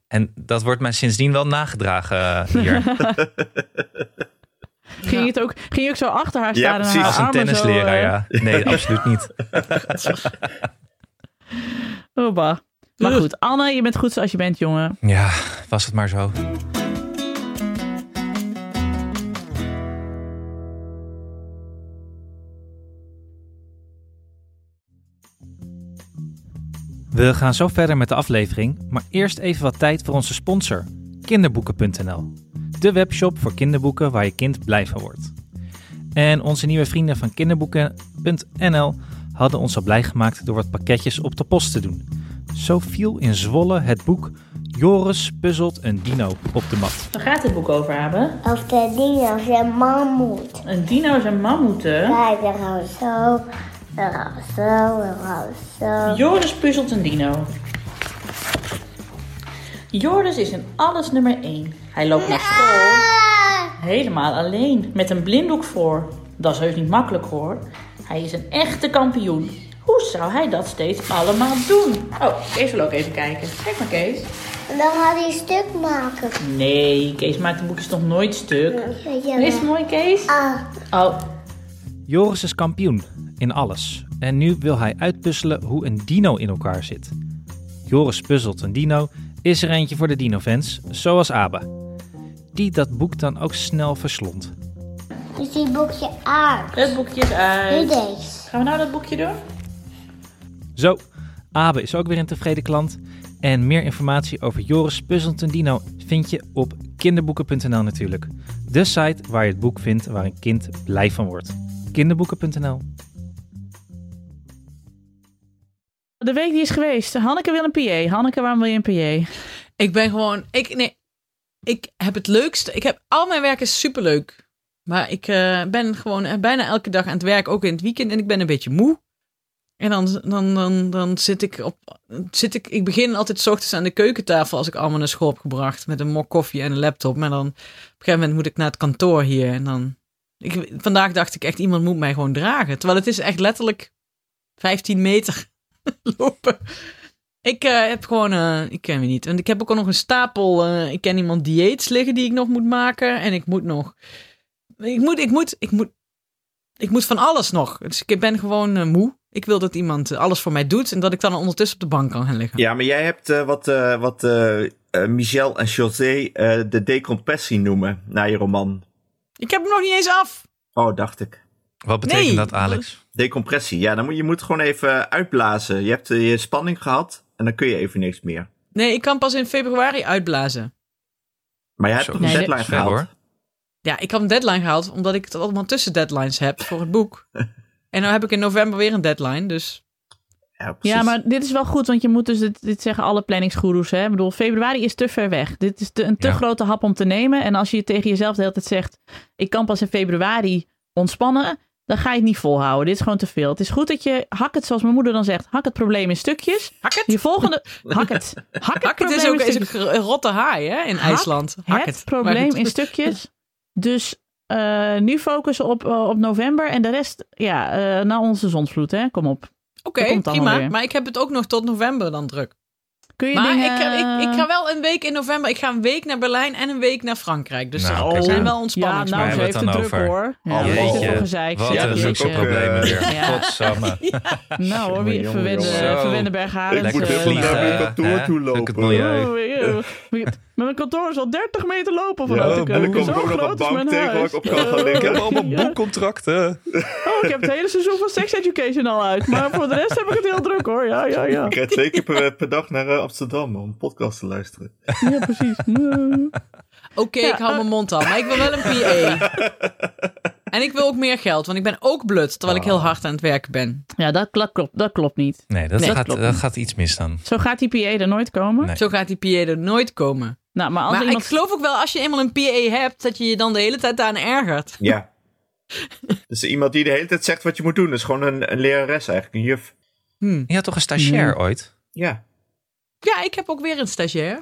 Speaker 3: En dat wordt mij sindsdien wel nagedragen eh, hier.
Speaker 1: Ging, je het ook, ging je ook zo achter haar
Speaker 4: Ja,
Speaker 1: staan? en
Speaker 4: precies.
Speaker 1: haar
Speaker 3: Als een
Speaker 1: armen
Speaker 3: tennisleraar,
Speaker 1: zo, eh,
Speaker 3: ja. Nee, absoluut niet.
Speaker 1: oh, bah. Maar goed, Anne, je bent goed zoals je bent, jongen.
Speaker 3: Ja, was het maar zo. We gaan zo verder met de aflevering, maar eerst even wat tijd voor onze sponsor, kinderboeken.nl. De webshop voor kinderboeken waar je kind blij van wordt. En onze nieuwe vrienden van kinderboeken.nl hadden ons al blij gemaakt door wat pakketjes op de post te doen. Zo viel in Zwolle het boek Joris puzzelt een dino op de mat.
Speaker 1: Waar gaat het boek over hebben?
Speaker 5: Of de dingen zijn mammoet.
Speaker 1: Een dino's en mammoeten.
Speaker 5: Hij er al zo, er al zo, er al zo.
Speaker 1: Joris puzzelt een dino. Joris is in alles nummer 1. Hij loopt naar school.
Speaker 5: Ah,
Speaker 1: Helemaal alleen, met een blinddoek voor. Dat is heus niet makkelijk hoor. Hij is een echte kampioen. Hoe zou hij dat steeds allemaal doen? Oh, Kees wil ook even kijken. Kijk maar Kees.
Speaker 5: en dan gaat hij stuk maken.
Speaker 1: Nee, Kees maakt de boekjes nog nooit stuk.
Speaker 5: Weet je
Speaker 1: Is het
Speaker 5: wel.
Speaker 1: mooi Kees?
Speaker 5: Ah,
Speaker 1: Oh,
Speaker 6: Joris is kampioen in alles. En nu wil hij uitpuzzelen hoe een dino in elkaar zit. Joris puzzelt een dino, is er eentje voor de dino-fans, zoals Aba. Die dat boek dan ook snel verslond.
Speaker 5: Dus die boekje uit.
Speaker 1: Het boekje is
Speaker 5: Nu
Speaker 1: uit.
Speaker 5: deze.
Speaker 1: Gaan we nou dat boekje doen?
Speaker 6: Zo, Abe is ook weer een tevreden klant. En meer informatie over Joris Puzzelt en Dino vind je op kinderboeken.nl natuurlijk. De site waar je het boek vindt waar een kind blij van wordt. Kinderboeken.nl
Speaker 1: De week die is geweest. Hanneke wil een PA. Hanneke, waarom wil je een PA?
Speaker 2: Ik ben gewoon. Ik, nee, ik heb het leukste. Ik heb, al mijn werk is superleuk. Maar ik eh, ben gewoon eh, bijna elke dag aan het werk, ook in het weekend. En ik ben een beetje moe. En dan, dan, dan, dan zit ik op. Zit ik, ik begin altijd 's ochtends aan de keukentafel als ik allemaal naar school heb gebracht. Met een mok koffie en een laptop. Maar dan op een gegeven moment moet ik naar het kantoor hier. En dan. Ik, vandaag dacht ik echt, iemand moet mij gewoon dragen. Terwijl het is echt letterlijk 15 meter lopen. Ik eh, heb gewoon, eh, ik ken me niet. En ik heb ook al nog een stapel, eh, ik ken iemand dieets liggen die ik nog moet maken. En ik moet nog, ik moet, ik moet, ik moet, ik moet van alles nog. Dus ik ben gewoon eh, moe. Ik wil dat iemand eh, alles voor mij doet en dat ik dan ondertussen op de bank kan gaan liggen.
Speaker 4: Ja, maar jij hebt eh, wat, eh, wat eh, eh, Michel en José eh, de decompressie noemen naar je roman.
Speaker 2: Ik heb hem nog niet eens af.
Speaker 4: Oh, dacht ik.
Speaker 3: Wat betekent
Speaker 2: Nee.
Speaker 3: dat, Alex?
Speaker 4: Decompressie, ja, dan moet, je moet gewoon even uitblazen. Je hebt eh, je spanning gehad en dan kun je even niks meer.
Speaker 2: Nee, ik kan pas in februari uitblazen.
Speaker 4: Maar jij hebt
Speaker 3: Zo,
Speaker 4: toch een
Speaker 1: nee,
Speaker 4: deadline
Speaker 3: dat is ver, hoor.
Speaker 4: gehaald?
Speaker 2: Ja, ik had een deadline gehaald omdat ik het allemaal tussen deadlines heb voor het boek. En nu heb ik in november weer een deadline, dus
Speaker 4: Ja, precies.
Speaker 1: Ja, maar dit is wel goed, want je moet dus, dit, dit zeggen alle planningsgoeroes, hè. Ik bedoel, februari is te ver weg. Dit is te, een te
Speaker 3: Ja.
Speaker 1: grote hap om te nemen. En als je tegen jezelf de hele tijd zegt, ik kan pas in februari ontspannen, dan ga je het niet volhouden. Dit is gewoon te veel. Het is goed dat je, hak het zoals mijn moeder dan zegt, hak het probleem in stukjes.
Speaker 2: hak het.
Speaker 1: Je volgende, hak het. Hak het,
Speaker 2: Hak het
Speaker 1: probleem
Speaker 2: is
Speaker 1: in
Speaker 2: ook, is
Speaker 1: stukjes.
Speaker 2: ook een rotte haai hè, in
Speaker 1: Hak
Speaker 2: IJsland. Hak
Speaker 1: het, probleem
Speaker 2: Maar
Speaker 1: in
Speaker 2: goed.
Speaker 1: stukjes. Dus eh, nu focussen op, eh, op november en de rest, ja, eh naar onze zonsvloed, hè. Kom op.
Speaker 2: Oké,
Speaker 1: Dat komt allemaal
Speaker 2: prima.
Speaker 1: weer.
Speaker 2: Maar ik heb het ook nog tot november dan druk.
Speaker 1: Kun je
Speaker 2: Maar
Speaker 1: dingen...
Speaker 2: ik, ga- ik, ik ga wel een week in november. Ik ga een week naar Berlijn en een week naar Frankrijk. Dus
Speaker 3: Nou,
Speaker 2: dat
Speaker 3: kijk
Speaker 2: zijn
Speaker 3: aan.
Speaker 2: wel
Speaker 1: Ja,
Speaker 2: ontspannings.
Speaker 1: nou,
Speaker 3: waar
Speaker 1: ze
Speaker 3: hebben we
Speaker 1: heeft
Speaker 3: het
Speaker 1: het
Speaker 3: dan
Speaker 1: druk
Speaker 3: over?
Speaker 1: hoor. Ja,
Speaker 4: Oh,
Speaker 1: ze
Speaker 4: jeetje.
Speaker 1: heeft veel gezeik.
Speaker 3: Wat
Speaker 1: Ja,
Speaker 4: dat
Speaker 3: een
Speaker 4: is ook
Speaker 1: jeetje.
Speaker 4: op-
Speaker 3: zoekproblemen
Speaker 4: eh,
Speaker 3: weer.
Speaker 1: Ja.
Speaker 3: Godsamme.
Speaker 1: Nou hoor,
Speaker 4: Jongen,
Speaker 1: wie
Speaker 4: jongen,
Speaker 1: verwende,
Speaker 3: jongen.
Speaker 1: verwende Bergharen.
Speaker 4: Ik moet
Speaker 1: eh,
Speaker 4: even
Speaker 1: nou,
Speaker 4: vliegen. naar mijn kantoor
Speaker 3: hè?
Speaker 4: toe
Speaker 3: Zoek het
Speaker 4: lopen.
Speaker 3: milieu.
Speaker 1: oeh, oeh, oeh. Met mijn kantoor is al 30 meter lopen
Speaker 4: Ja,
Speaker 1: vanuit de
Speaker 4: en
Speaker 1: keuken.
Speaker 4: dan kom ik
Speaker 1: Zo
Speaker 4: Oh, ook nog
Speaker 1: groot
Speaker 4: een
Speaker 1: Oh, is mijn
Speaker 4: bank tegen waar
Speaker 1: huis. Oh.
Speaker 4: ik op kan gaan liggen.
Speaker 1: Ja.
Speaker 3: boekcontracten.
Speaker 1: Oh, ik heb het hele seizoen van Sex Education al uit. Maar voor de rest heb ik het heel druk hoor. Ja, ja, ja.
Speaker 4: Ik rijd twee keer per, per dag naar eh, Amsterdam om een podcast te luisteren.
Speaker 1: Ja, precies. Nee.
Speaker 2: Oké, ik
Speaker 1: eh.
Speaker 2: hou mijn mond al. Maar ik wil wel een PA. en ik wil ook meer geld, want ik ben ook blut. Terwijl ik heel hard aan het werken ben.
Speaker 1: Ja, dat kla- klopt, dat klopt niet.
Speaker 3: Nee, dat,
Speaker 1: Nee, dat
Speaker 3: gaat,
Speaker 1: klopt
Speaker 3: dat
Speaker 1: niet.
Speaker 3: gaat iets mis dan.
Speaker 1: Zo gaat die PA er nooit komen.
Speaker 3: Nee.
Speaker 2: Zo gaat die PA er nooit komen.
Speaker 1: Nou, maar als
Speaker 2: maar
Speaker 1: iemand...
Speaker 2: ik geloof ook wel, als je eenmaal een PA hebt, dat je je dan de hele tijd aan ergert.
Speaker 4: Ja. dus iemand die de hele tijd zegt wat je moet doen, is gewoon een, een lerares eigenlijk, een juf.
Speaker 3: Je had toch een stagiair ooit?
Speaker 4: Ja.
Speaker 2: Ja, ik heb ook weer een stagiair.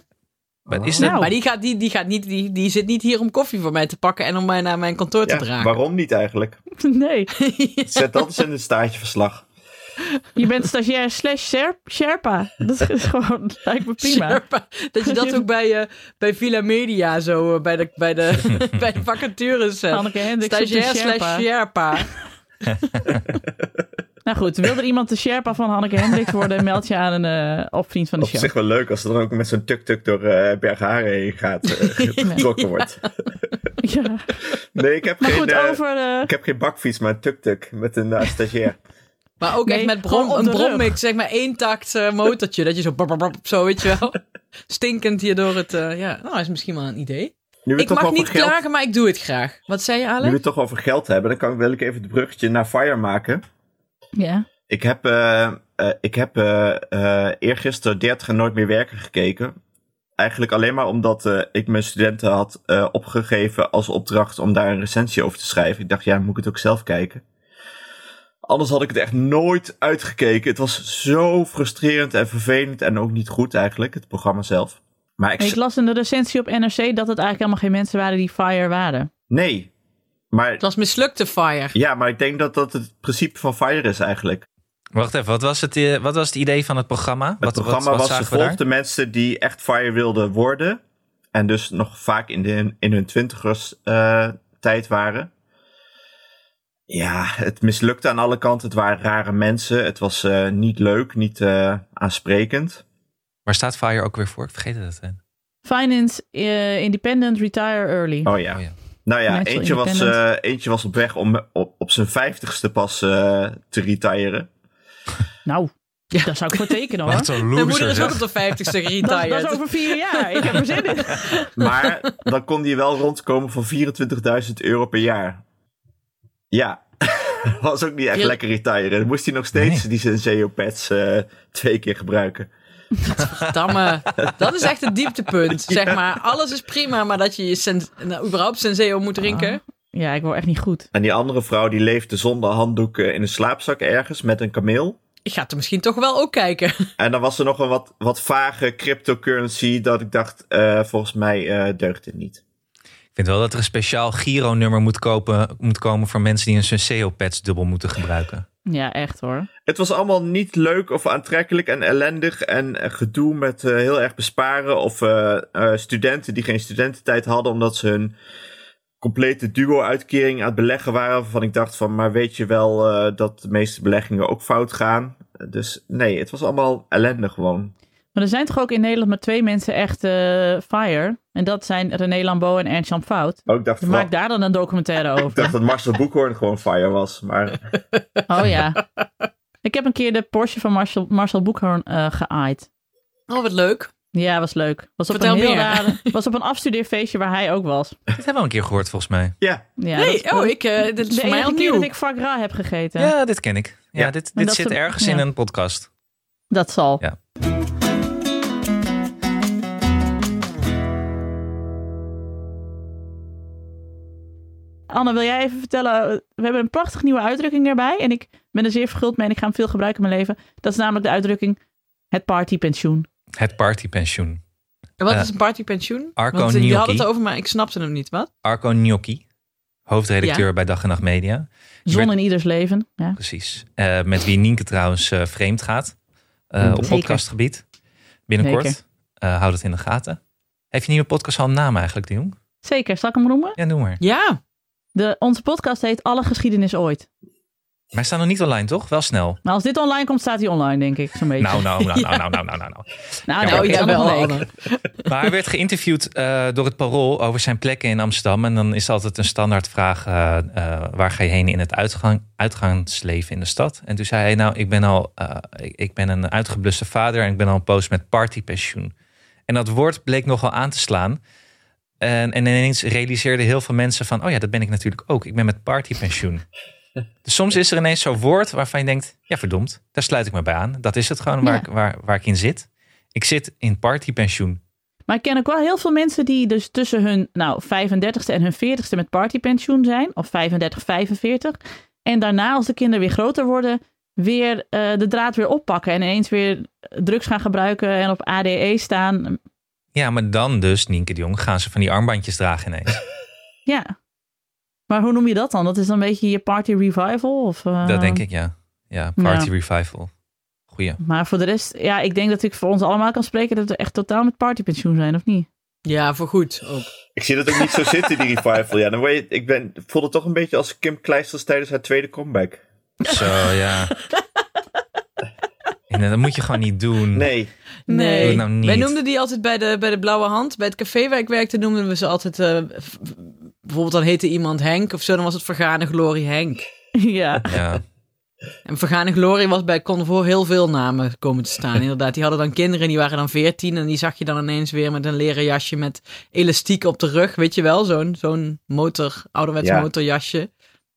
Speaker 3: Maar is
Speaker 1: Oh.
Speaker 3: dat...
Speaker 1: Nou.
Speaker 2: Maar die, gaat, die, die, gaat niet, die, die zit niet hier om koffie voor mij te pakken en om mij naar mijn kantoor te
Speaker 4: Ja,
Speaker 2: dragen.
Speaker 4: waarom niet eigenlijk?
Speaker 1: Nee,
Speaker 4: Zet dat eens in het staartjeverslag.
Speaker 1: je bent stagiair slash Sher- Sherpa. Dat is gewoon, lijkt me prima.
Speaker 2: Sherpa. Dat je dat ook bij, eh, bij Villa Media zo, eh, bij de, bij de, bij de vacatures hebt.
Speaker 1: Hanneke Hendricks op de
Speaker 2: Stagiair
Speaker 1: Sherpa.
Speaker 2: slash Sherpa.
Speaker 1: Nou goed, wil er iemand de Sherpa van Hanneke Hendricks worden, meld je aan een eh, opvriend van de
Speaker 4: Op
Speaker 1: show.
Speaker 4: zich wel leuk als er dan ook met zo'n tuk-tuk door eh Bergharen heen gaat, eh, getrokken wordt.
Speaker 1: Ja.
Speaker 4: Nee, ik heb,
Speaker 1: Maar
Speaker 4: geen,
Speaker 1: goed,
Speaker 4: eh,
Speaker 1: over... eh,
Speaker 4: ik heb geen bakfiets, maar een tuk-tuk met een eh, stagiair.
Speaker 2: Maar ook echt
Speaker 1: Nee,
Speaker 2: met brom,
Speaker 1: gewoon op de
Speaker 2: een
Speaker 1: rug.
Speaker 2: brommix, zeg maar één takt eh, motortje. Dat je zo, brr, brr, brr, zo, weet je wel. Stinkend hier door het, eh, ja, nou is misschien wel een idee.
Speaker 4: Nu we
Speaker 2: Ik
Speaker 4: het toch
Speaker 2: mag
Speaker 4: over
Speaker 2: niet
Speaker 4: geld,
Speaker 2: klagen, maar ik doe het graag. Wat zei je,
Speaker 4: Nu we
Speaker 2: Alex?
Speaker 4: het toch over geld hebben, dan kan, wil ik even het bruggetje naar Fire maken.
Speaker 1: ja.
Speaker 4: Ik heb, eh eh, ik heb eh eh eergisteren 30 en nooit meer werken gekeken. Eigenlijk alleen maar omdat eh, ik mijn studenten had eh, opgegeven als opdracht om daar een recensie over te schrijven. Ik dacht, ja, moet ik het ook zelf kijken. Anders had ik het echt nooit uitgekeken. Het was zo frustrerend en vervelend en ook niet goed eigenlijk, het programma zelf. Maar ik,
Speaker 1: Ik las in de recensie op NRC dat het eigenlijk helemaal geen mensen waren die fire waren.
Speaker 4: nee, maar
Speaker 2: Het was mislukte fire.
Speaker 4: ja, maar ik denk dat dat het principe van Fire is eigenlijk.
Speaker 3: Wacht even, wat was, het, eh, wat was het idee van het programma? wat,
Speaker 4: Het
Speaker 3: wat-
Speaker 4: programma
Speaker 3: wat
Speaker 4: was
Speaker 3: zagen we daar?
Speaker 4: gevolgd de mensen die echt fire wilden worden. En dus nog vaak in, de, in hun twintigers eh, tijd waren. Ja, het mislukte aan alle kanten. Het waren rare mensen. Het was eh, niet leuk, niet eh, aansprekend.
Speaker 3: Waar staat FIRE ook weer voor? Ik vergeet het. Hè?
Speaker 1: Finance eh, Independent Retire Early.
Speaker 4: Oh ja.
Speaker 3: Oh ja.
Speaker 4: Nou ja,
Speaker 1: Financial
Speaker 4: eentje was, eh,
Speaker 1: independent.
Speaker 4: eentje was op weg om op, op zijn vijftigste pas eh, te retiren.
Speaker 1: Nou, daar zou ik voor tekenen hoor.
Speaker 3: Wat een
Speaker 2: Mijn moeder
Speaker 1: dus
Speaker 3: loser
Speaker 2: is ook op de
Speaker 3: zeg.
Speaker 2: 50ste
Speaker 1: Dat, is-
Speaker 2: retired.
Speaker 1: dat is over vier jaar. Ik heb er zin in.
Speaker 4: Maar dan kon hij wel rondkomen van 24.000 euro per jaar. Ja, was ook niet echt
Speaker 2: Ja.
Speaker 4: lekker retiren. Dan moest hij nog steeds
Speaker 3: Nee.
Speaker 4: die Senseo-pads eh, twee keer gebruiken.
Speaker 2: Damme. eh, Dat is echt het dieptepunt, zeg maar. Alles is prima, maar dat je je sen- nou, überhaupt senseo moet
Speaker 3: Ah.
Speaker 2: drinken.
Speaker 1: Ja, ik word echt niet goed.
Speaker 4: En die andere vrouw die leefde zonder handdoeken in een slaapzak ergens met een kameel.
Speaker 2: Ik ga het er misschien toch wel ook kijken.
Speaker 4: En dan was er nog een wat, wat vage cryptocurrency dat ik dacht, eh, volgens mij eh, deugt dit niet.
Speaker 3: Ik vind wel dat er een speciaal Giro-nummer moet, kopen- moet komen voor mensen die een Senseo-pads dubbel moeten gebruiken.
Speaker 1: Ja, echt hoor.
Speaker 4: Het was allemaal niet leuk of aantrekkelijk en ellendig en eh, gedoe met eh, heel erg besparen of eh, eh, studenten die geen studententijd hadden omdat ze hun complete duo-uitkering aan het beleggen waren. Waarvan ik dacht van, maar weet je wel eh, dat de meeste beleggingen ook fout gaan? Dus nee, het was allemaal ellende gewoon.
Speaker 1: Maar er zijn toch ook in Nederland maar twee mensen echt eh, fire. En dat zijn René Lambeau en Ernst Jan Fout.
Speaker 4: Ook dacht van,
Speaker 1: Maak daar dan een documentaire
Speaker 4: ik
Speaker 1: over.
Speaker 4: dacht dat Marcel Boekhoorn gewoon fire was, maar...
Speaker 1: Oh ja. Ik heb een keer de Porsche van Marcel, Marcel Boekhoorn eh, geaaid.
Speaker 2: Oh, wat leuk.
Speaker 1: Ja, was leuk. Was op,
Speaker 2: Vertel
Speaker 1: een heel
Speaker 2: meer.
Speaker 1: rare, was op een afstudeerfeestje waar hij ook was.
Speaker 3: Dat hebben we al een keer gehoord volgens mij.
Speaker 4: Ja,
Speaker 1: Ja, dat is-
Speaker 2: nee, oh, ik, eh, dit is
Speaker 1: de
Speaker 2: voor mij
Speaker 1: enige
Speaker 2: al
Speaker 1: keer
Speaker 2: nieuw.
Speaker 1: dat ik foie gras heb gegeten.
Speaker 3: Ja, dit ken ik. Ja,
Speaker 4: Ja.
Speaker 3: dit,
Speaker 1: Maar
Speaker 3: dit
Speaker 1: dat
Speaker 3: zit
Speaker 1: ze-
Speaker 3: ergens
Speaker 1: ja.
Speaker 3: in een podcast.
Speaker 1: Dat zal.
Speaker 3: Ja.
Speaker 1: Anne, wil jij even vertellen? eh, We hebben een prachtig nieuwe uitdrukking erbij. En ik ben er zeer verguld mee en ik ga hem veel gebruiken in mijn leven. Dat is namelijk de uitdrukking het partypensioen.
Speaker 3: Het partypensioen.
Speaker 2: Wat
Speaker 3: Eh,
Speaker 2: is een partypensioen?
Speaker 3: Arco
Speaker 2: Want eh, je had het
Speaker 3: Gnocchi.
Speaker 2: over, maar ik snapte hem niet. Wat?
Speaker 3: Arco Gnocchi, hoofdredacteur bij Dag en Nacht Media.
Speaker 1: Zon
Speaker 3: werd-
Speaker 1: in ieders leven. Ja.
Speaker 3: Precies. Eh, met wie Nienke trouwens eh, vreemd gaat. eh, op
Speaker 1: Mm, Zeker.
Speaker 3: podcastgebied. Binnenkort.
Speaker 1: Zeker.
Speaker 3: Eh, houd het in de gaten. Heeft je nieuwe podcast al een naam eigenlijk, de jong?
Speaker 1: Zeker, zal ik hem noemen?
Speaker 3: Ja, noem maar.
Speaker 2: Ja,
Speaker 1: De, onze podcast heet Alle Geschiedenis Ooit.
Speaker 3: Maar hij staat nog niet online, toch? Wel snel.
Speaker 1: Maar als dit online komt, staat hij online, denk ik. Zo'n beetje.
Speaker 3: Nou, nou, nou, nou, nou, nou, nou, nou, nou.
Speaker 1: nou,
Speaker 3: nou,
Speaker 1: ik
Speaker 2: ja,
Speaker 1: zal nog
Speaker 2: wel,
Speaker 1: een week.
Speaker 2: Anne.
Speaker 3: Maar hij werd geïnterviewd eh, door het Parool over zijn plekken in Amsterdam. En dan is er altijd een standaardvraag: eh, eh, waar ga je heen in het uitgang, uitgangsleven in de stad? En toen zei hij: Nou, ik ben al eh, ik, ik ben een uitgebluste vader en ik ben al een poos met partypensioen. En dat woord bleek nogal aan te slaan. En, en ineens realiseerden heel veel mensen van: Oh ja, dat ben ik natuurlijk ook. Ik ben met partypensioen. Dus soms is er ineens zo'n woord waarvan je denkt: Ja, verdomd, daar sluit ik me bij aan. Dat is het gewoon waar,
Speaker 1: Ja.
Speaker 3: ik, waar, waar ik in zit. Ik zit in partypensioen.
Speaker 1: Maar ik ken ook wel heel veel mensen die dus tussen hun nou, 35ste en hun 40ste met partypensioen zijn. Of 35, 45. En daarna, als de kinderen weer groter worden, weer eh, de draad weer oppakken. En ineens weer eh, drugs gaan gebruiken en op ADE staan.
Speaker 3: Ja, maar dan dus, Nienke de Jong, gaan ze van die armbandjes dragen ineens.
Speaker 1: Ja. Maar hoe noem je dat dan? Dat is dan een beetje je party revival? Of, eh,
Speaker 3: Dat denk ik, ja. Ja, party revival. Goeie.
Speaker 1: Maar voor de rest, ja, ik denk dat ik voor ons allemaal kan spreken dat we echt totaal met partypensioen zijn, of niet?
Speaker 2: Ja, voor goed ook.
Speaker 4: ik zie dat ook niet zo zitten, die revival. Ja, dan word je, ik ben, ik voelde het toch een beetje als Kim Kleisters tijdens haar tweede comeback.
Speaker 3: Zo, ja. En dat moet je gewoon niet doen.
Speaker 4: Nee,
Speaker 3: Doe het nou niet.
Speaker 2: Wij noemden die altijd bij de, bij de Blauwe Hand. Bij het café waar ik werkte noemden we ze altijd... eh, f- f- bijvoorbeeld dan heette iemand Henk of zo. Dan was het Vergane Glorie Henk.
Speaker 1: ja.
Speaker 3: Ja.
Speaker 2: En Vergane Glorie was bij Convoor heel veel namen komen te staan. Inderdaad, die hadden dan kinderen. Die waren dan veertien. En die zag je dan ineens weer met een leren jasje met elastiek op de rug. Weet je wel, zo'n zo'n motor, ouderwets
Speaker 4: Ja.
Speaker 2: motorjasje.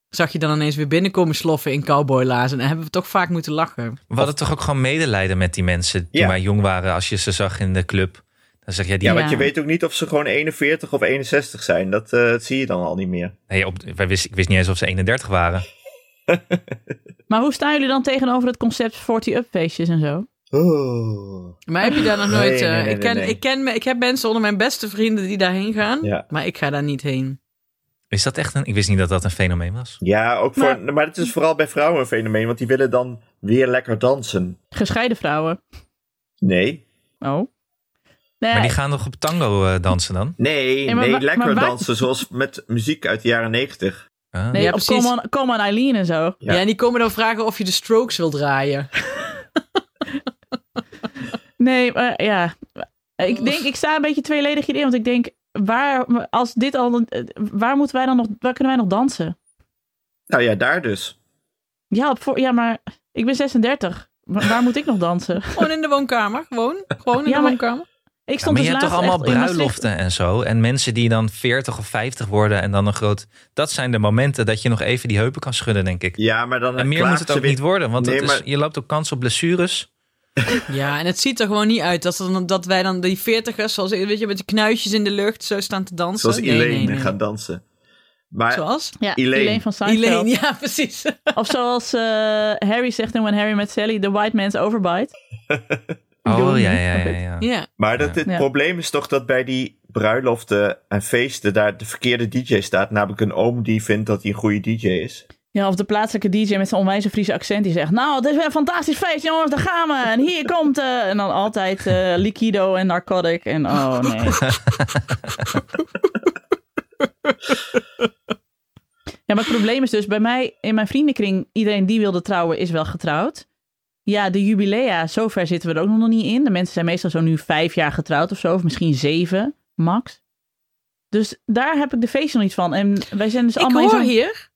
Speaker 2: Zag je dan ineens weer binnenkomen sloffen in cowboylaars. En daar hebben we toch vaak moeten lachen.
Speaker 3: We hadden toch ook gewoon medelijden met die mensen toen
Speaker 4: Ja.
Speaker 3: wij jong waren. Als je ze zag in de club, dan zeg je... Die,
Speaker 4: ja,
Speaker 1: maar-
Speaker 4: want je weet ook niet of ze gewoon 41 of 61 zijn. Dat, eh, dat zie je dan al niet meer.
Speaker 3: nee, op, wij wist, ik wist niet eens of ze 31 waren.
Speaker 1: Maar hoe staan jullie dan tegenover het concept 40-up feestjes en zo?
Speaker 4: Oh.
Speaker 2: Maar heb je daar nog
Speaker 4: Nee,
Speaker 2: nooit... eh,
Speaker 4: nee, nee,
Speaker 2: ik, ken,
Speaker 4: nee, nee.
Speaker 2: Ik, ken, me- ik heb mensen onder mijn beste vrienden die daarheen gaan.
Speaker 4: Ja.
Speaker 2: Maar ik ga daar niet heen.
Speaker 3: Is dat echt een... Ik wist niet dat dat een fenomeen was.
Speaker 4: Ja, ook voor,
Speaker 1: Maar-
Speaker 4: maar, het is vooral bij vrouwen een fenomeen, want die willen dan weer lekker dansen.
Speaker 1: Gescheiden vrouwen.
Speaker 4: Nee,
Speaker 1: Oh. Nee,
Speaker 3: Maar die gaan toch op tango eh, dansen dan?
Speaker 4: nee,
Speaker 1: Ja, maar
Speaker 4: nee,
Speaker 1: wa-
Speaker 4: lekker
Speaker 1: maar waar-
Speaker 4: dansen, zoals met muziek uit de jaren 90.
Speaker 3: Ah.
Speaker 1: Nee,
Speaker 2: Ja,
Speaker 1: op
Speaker 2: precies.
Speaker 1: Come on, Come on Eileen en zo.
Speaker 4: Ja.
Speaker 2: Ja. en die komen dan vragen of je de strokes wil draaien.
Speaker 1: Nee, maar ja. Ik denk, ik sta een beetje tweeledig idee. Want ik denk, waar, als dit al, eh, waar moeten wij dan nog, waar kunnen wij nog dansen?
Speaker 4: Nou ja, daar dus.
Speaker 1: Ja, op voor, ja maar ik ben 36. Wa- Waar moet ik nog dansen?
Speaker 2: Gewoon in de woonkamer. Gewoon, gewoon in
Speaker 1: Ja,
Speaker 2: de
Speaker 1: maar-
Speaker 2: woonkamer.
Speaker 1: Ik
Speaker 3: Ja,
Speaker 1: stond
Speaker 3: maar je
Speaker 1: dus
Speaker 3: hebt toch
Speaker 1: laatst
Speaker 3: allemaal
Speaker 1: echt in Maastricht-
Speaker 3: bruiloften en zo. En mensen die dan 40 of 50 worden en dan een groot... Dat zijn de momenten dat je nog even die heupen kan schudden, denk ik.
Speaker 4: Ja, maar dan
Speaker 3: En meer
Speaker 4: klaagt
Speaker 3: moet het
Speaker 4: ze
Speaker 3: ook
Speaker 4: weer-
Speaker 3: niet worden, want
Speaker 4: Nee,
Speaker 3: het is,
Speaker 4: maar-
Speaker 3: je loopt ook kans op blessures.
Speaker 2: Ja, en het ziet er gewoon niet uit dat, ze dan- dat wij dan die veertigers, zoals weet je, met die knuitjes in de lucht, zo staan te dansen.
Speaker 4: Zoals
Speaker 2: Nee,
Speaker 4: Elaine
Speaker 2: nee, nee.
Speaker 4: gaat dansen. Maar
Speaker 2: Zoals?
Speaker 1: Ja,
Speaker 4: Elaine.
Speaker 1: Elaine, van Seinfeld.
Speaker 2: Elaine, ja, precies.
Speaker 1: Of zoals eh, Harry zegt in When Harry Met Sally, the white man's overbite.
Speaker 3: Oh, ja, ja, ja. ja.
Speaker 2: Ja.
Speaker 4: Maar dat, het
Speaker 1: Ja.
Speaker 4: probleem is toch dat bij die bruiloften en feesten daar de verkeerde DJ staat. Namelijk een oom die vindt dat hij een goede DJ is.
Speaker 1: Ja, of de plaatselijke DJ met zijn onwijze Friese accent die zegt: Nou, dit is weer een fantastisch feest, jongens, daar gaan we. En hier komt. eh," en dan altijd eh, liquido en narcotic. En oh nee. ja, maar het probleem is dus bij mij in mijn vriendenkring: iedereen die wilde trouwen is wel getrouwd. Ja, de jubilea, zover zitten we er ook nog niet in. De mensen zijn meestal zo nu vijf jaar getrouwd of zo, of misschien zeven max. Dus daar heb ik de feestje nog niet van. En wij zijn dus
Speaker 2: ik
Speaker 1: allemaal in
Speaker 2: hoor
Speaker 1: zo'n-
Speaker 2: hier,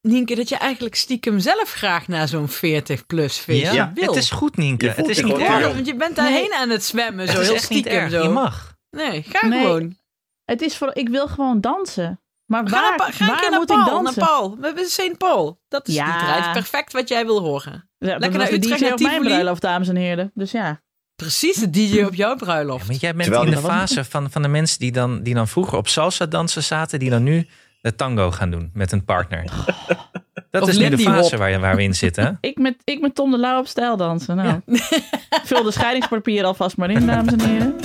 Speaker 2: Nienke, dat je eigenlijk stiekem zelf graag naar zo'n 40-plus feestje
Speaker 3: Ja,
Speaker 2: wil.
Speaker 3: het is goed, Nienke.
Speaker 4: Je
Speaker 3: Het
Speaker 4: voelt
Speaker 3: is
Speaker 4: je
Speaker 3: niet
Speaker 4: gewoon
Speaker 2: Ja,
Speaker 4: erg.
Speaker 2: dat-
Speaker 3: erg.
Speaker 2: want je bent daarheen aan het zwemmen, zo
Speaker 3: Het is
Speaker 2: heel
Speaker 3: echt niet
Speaker 2: stiekem.
Speaker 3: erg.
Speaker 2: Zo.
Speaker 3: Je mag.
Speaker 2: Nee, ga
Speaker 1: Nee.
Speaker 2: gewoon.
Speaker 1: Het is voor, ik wil gewoon dansen. Maar
Speaker 2: Ga,
Speaker 1: waar,
Speaker 2: naar, Pa- ga een
Speaker 1: waar
Speaker 2: keer naar
Speaker 1: moet
Speaker 2: Paul,
Speaker 1: ik dansen?
Speaker 2: naar Paul. We hebben St. Paul. Dat is
Speaker 1: Ja.
Speaker 2: die draait perfect wat jij wil horen.
Speaker 1: Ja, dat
Speaker 2: Lekker
Speaker 1: was
Speaker 2: naar
Speaker 1: de
Speaker 2: Utrecht,
Speaker 1: DJ
Speaker 2: naar
Speaker 1: op mijn
Speaker 2: Tivoli.
Speaker 1: bruiloft, dames en heren. Dus ja.
Speaker 2: Precies de DJ op jouw
Speaker 3: Ja,
Speaker 2: bruiloft.
Speaker 3: maar jij bent
Speaker 4: Terwijl
Speaker 3: in de
Speaker 4: die-
Speaker 3: fase van, van de mensen die dan, die dan vroeger op salsa dansen zaten, die dan nu de tango gaan doen met een partner.
Speaker 2: Oh.
Speaker 3: Dat
Speaker 2: Of
Speaker 3: is nu de
Speaker 2: Lindy
Speaker 3: fase
Speaker 2: Hop.
Speaker 3: waar, waar we in zitten. hè?
Speaker 1: Ik met, ik met Tom de Lauw op stijl dansen. Nou. Vul de scheidingspapier alvast maar in, dames en heren.